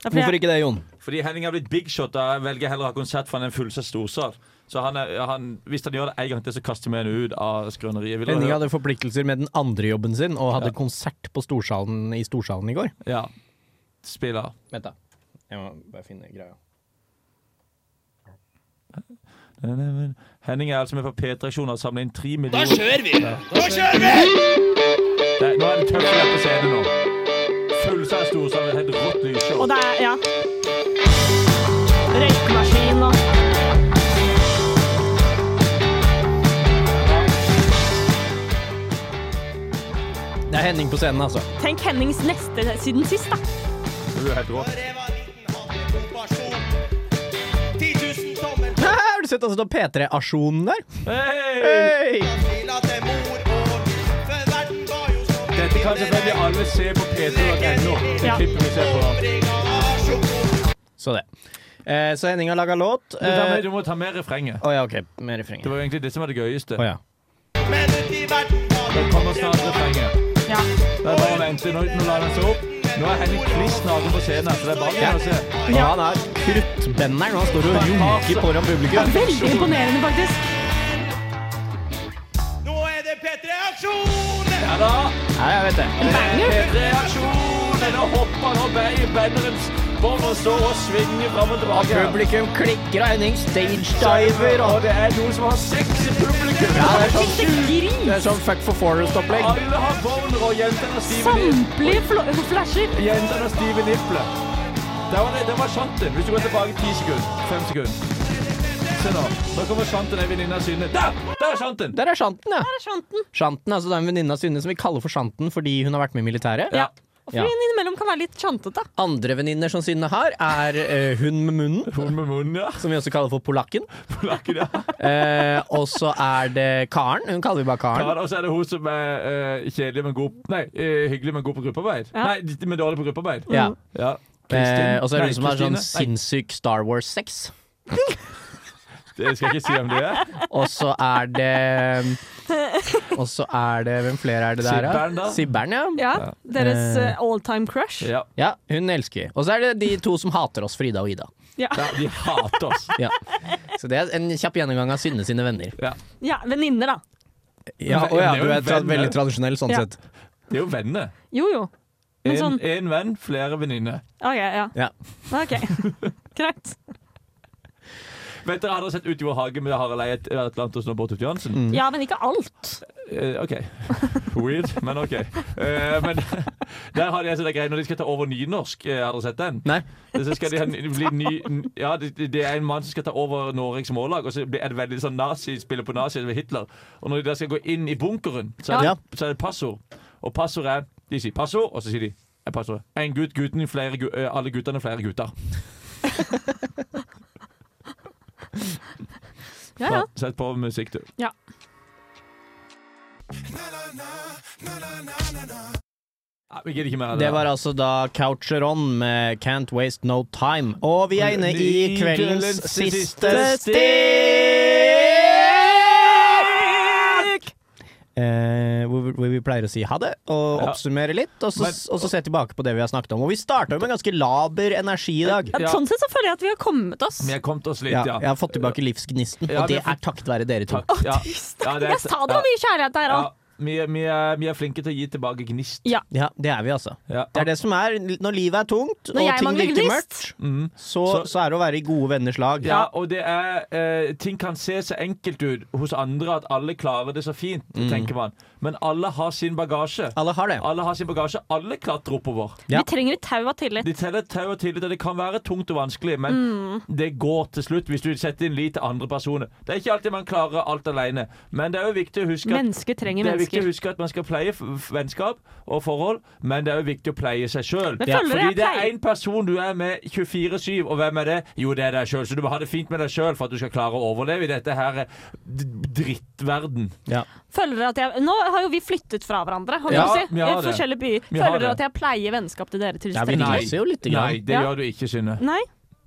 D: Det er fordi
E: Hvorfor
D: jeg-
E: ikke det, Jon?
C: Fordi Henning har blitt big shot. Da jeg velger heller å ha konsert foran en fullsatt storsal. Så han er, han, hvis han gjør det en gang til, så kaster vi henne ut av skrøneriet. Vil dere
E: Henning
C: høre?
E: hadde forpliktelser med den andre jobben sin, og hadde konsert på storsalen, i Storsalen i går.
C: Ja. Spiller.
E: Vent, da. Jeg må bare finne greia.
C: Henning er altså med på P3-aksjonen og har samlet inn tre millioner Da kjører vi! Da kjører vi! Det, nå er det tøft å være på scenen nå. Fullsatt storsal med helt rått lysshow.
D: Og det er ja. Røykemaskin og
E: Det er Henning på scenen, altså.
D: Tenk Hennings neste siden sist, da.
C: Du er helt rå.
E: Hæ, har du sett altså P3-asjonen der?
C: Hey! Dette kan selvfølgelig alle se på p3.no. Det
D: Ja.
C: klippet vi ser på.
E: Så det. Eh, så Henning har laga låt. Å
C: Du, tar med, du må ta med refrenget.
E: ja, OK. Med refrenget.
C: Det var jo egentlig det som var det gøyeste.
E: Å ja.
C: Det kommer snart refrenget.
D: Ja.
C: Det er bare å vente. Nå, nå lar den seg opp. Nå er Henning kliss naken på scenen, så det er bare å begynne å se.
E: Og han er kruttbenderen. Han står og junker foran publikum.
D: Veldig imponerende, faktisk.
C: Ja da.
E: Ja, jeg vet det.
D: Banger.
C: P3-aksjonen! Nå hopper han opp i banderens oppover, så og svinger fram og tilbake.
E: Publikum klikker og Henning stagediver. og-
C: og det er noen som har sex i publikum.
E: Ja, det er sånn,
D: Gris!
E: det er sånn fuck for forest-opplegg.
C: Alle har boner, og jentene har stive nippler.
D: Samtlige fl flasher.
C: Jentene har stive nippler. Der var, det, der var shanten. Hvis du går tilbake ti sekunder, fem sekunder. Se nå. Nå kommer shanten, ei venninne av Synne. Der! Der er shanten!
E: Der er Shanten, ja.
D: Sjanten.
E: Shanten, altså det er en venninne av Synne som vi kaller for Shanten fordi hun har vært med i militæret.
C: Ja.
D: Og
E: Ja.
D: fordi hun innimellom kan være litt sjantete.
E: Andre venninner som Synne har, er eh, hun med munnen,
C: Hun med munnen, ja.
E: som vi også kaller for polakken.
C: Polakken, ja.
E: Eh, og så er det Karen. Hun kaller vi bare Karen.
C: Ja, og så er det hun som er eh, kjedelig, men god Nei, eh, hyggelig, men god på gruppearbeid.
D: Ja.
C: Nei, men dårlig på gruppearbeid.
E: Ja.
C: Ja.
E: Eh,
C: Kristin.
E: og så er
C: Nei,
E: det hun som har sånn
C: Kristine.
E: sinnssyk Star Wars-sex.
C: Nei, det skal jeg ikke si om det er.
E: Og så er det Og så er det Hvem flere er det der,
C: Sibbern, da.
E: Sibbern, ja.
D: Ja, Deres
E: Eh.
D: eh, all time crush.
C: Ja.
E: Ja, hun elsker vi. Og så er det de to som hater oss, Frida og Ida.
C: Ja, de hater oss.
E: Ja. Så det er en kjapp gjennomgang av Synne sine venner.
D: Ja, Venninner, da.
E: Ja,
C: og ja, du er tra- veldig
E: tradisjonell sånn
D: Ja.
E: sett.
C: De er jo venner.
D: Jo jo. Men
C: Én
D: sånn-
C: venn, flere venninner.
D: OK, ja.
E: Ja.
D: Ok, Greit.
C: Vet dere, har dere sett Ut i vår hage med Harald Eie et Atlantis og Bård Tufte Johansen?
E: Mm.
D: Ja, men ikke alt.
C: Eh, OK. Weird, men OK. Eh, men der har de altså det greia når de skal ta over nynorsk. eh, Har dere sett den?
E: Nei.
C: Så skal de ha, n- bli ny, n- ja, det, det er en mann som skal ta over Norges mållag, og så blir- er det veldig sånn nazi, spiller på nazi ved Hitler. Og når de da skal gå inn i bunkeren, så er det,
E: Ja.
C: så er det passord. Og passord er De sier passord, og så sier de er passordet. En gutt, gutten, flere, gu- eh, alle guttene, flere gutter.
D: Ja, ja.
C: Så, Sett på musikk, du. Nei, vi gidder ikke mer av det.
E: Det var altså da Coucheron med Can't Waste No Time. Og vi er inne i kveldens siste stikk! Eh, hvor, hvor vi pleier å si ha det og
C: Ja.
E: oppsummere litt, og så,
C: Men-
E: og så se tilbake på det vi har snakket om. Og vi starta jo med ganske laber energi i dag.
D: Ja,
C: Ja.
D: Sånn sett så føler jeg at vi har kommet oss.
C: Vi har kommet oss litt,
E: Ja,
C: ja.
E: jeg har fått tilbake livsgnisten,
C: Ja,
E: og
C: vi
E: det
C: har fått-
E: er takket være dere to.
C: Takk. Ja. Ja, det er-
D: Jeg sa det var mye kjærlighet der
C: Ja,
D: òg.
C: vi, er- vi, er, vi er flinke til å gi tilbake gnist.
E: Ja, det er vi, altså.
C: Ja.
E: Det er det som er når livet er tungt,
D: Når
E: og
D: jeg
E: ting
D: mangler
E: virker
D: gnist.
E: mørkt,
C: Mm.
E: så,
C: Så-
E: så er det å være i gode venners lag.
C: Ja, og det er eh, Ting kan se så enkelt ut hos andre at alle klarer det så fint,
E: Mm.
C: tenker man. Men alle har sin bagasje.
E: Alle har det.
C: Alle har sin bagasje, alle klatrer oppover.
E: Ja.
D: Vi trenger et tau av tillit.
C: De teller tau og tillit, og det kan være tungt og vanskelig, men
D: Mm.
C: det går til slutt hvis du setter inn lit til andre personer. Det er ikke alltid man klarer alt alene, men det er jo viktig å huske at
D: Mennesker trenger
C: det er viktig å
D: mennesker.
C: huske at man skal pleie f- f- vennskap og forhold, men det er jo viktig å pleie seg sjøl.
D: Men føler du
C: Fordi
D: jeg
C: det er
D: pleier-
C: én person du er med 24-7, og hvem er det? Jo, det er deg sjøl. Så du må ha det fint med deg sjøl for at du skal klare å overleve i dette her eh, d- drittverden.
D: Føler dere at jeg, nå har jo vi flyttet fra hverandre, holdt
C: Ja,
D: jeg på å si.
C: vi har
D: I
C: det.
D: forskjellige byer.
C: Vi har
D: Føler dere
C: det.
D: at jeg pleier vennskap til dere? Til
E: Ja, vi
D: dere?
C: Nei.
E: leser jo lite
C: Nei,
E: grann.
C: det
D: Ja.
C: gjør du ikke, Synne.
D: Nei?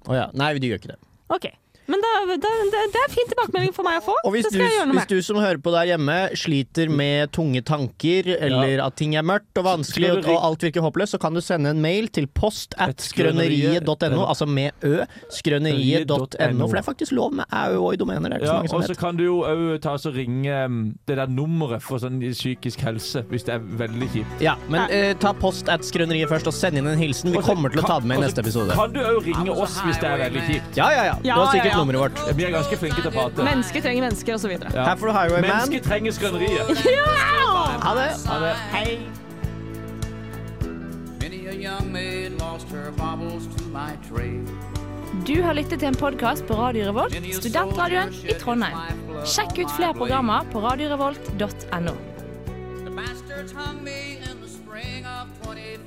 E: Å ja. Nei, du gjør ikke det.
D: OK. Men da, da, det, det er fin tilbakemelding for meg å få.
E: Og hvis
D: det
E: du,
D: skal jeg gjøre noe
E: hvis
D: med.
E: du som hører på der hjemme sliter med tunge tanker, eller at ting er mørkt og vanskelig
C: Skriver
E: og,
C: ring-
E: og alt virker håpløst, så kan du sende en mail til post at skrøneriet.no, altså med ø, skrøneriet.no, for det er faktisk lov med æ og i domener, det er ikke så
C: Ja,
E: mange som
C: og så
E: vet.
C: kan du jo òg ta oss og ringe eh, det der nummeret for sånn psykisk helse, hvis det er veldig kjipt.
E: Ja, men eh, ta post at skrøneriet først, og send inn en hilsen. Vi
C: Og så
E: kommer til å
C: kan-
E: ta det med
C: og
E: i
C: så
E: neste episode.
C: Kan du òg ringe oss hvis det er veldig kjipt?
E: Ja, ja, ja. Du har
D: Ja, ja,
E: sikkert
D: ja.
E: nummeret vårt.
C: Vi er ganske flinke til å prate.
D: Mennesker trenger mennesker, og så videre.
C: Ja.
E: Her får du Highwayman.
C: Mennesket trenger skrøneriet.
E: Ha det.
I: Many a young maid lost her baubles to my trade.
J: Du har lyttet til en podkast på Radio Revolt,
I: Many a
J: studentradioen
I: soldier
J: i
I: shed his
J: Trondheim.
I: life blood
J: Sjekk
I: on
J: ut
I: my
J: flere
I: blade.
J: programmer på radiorevolt.no.
I: The bastards hung me in the spring of 25.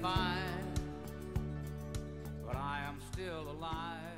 I: But I am still alive.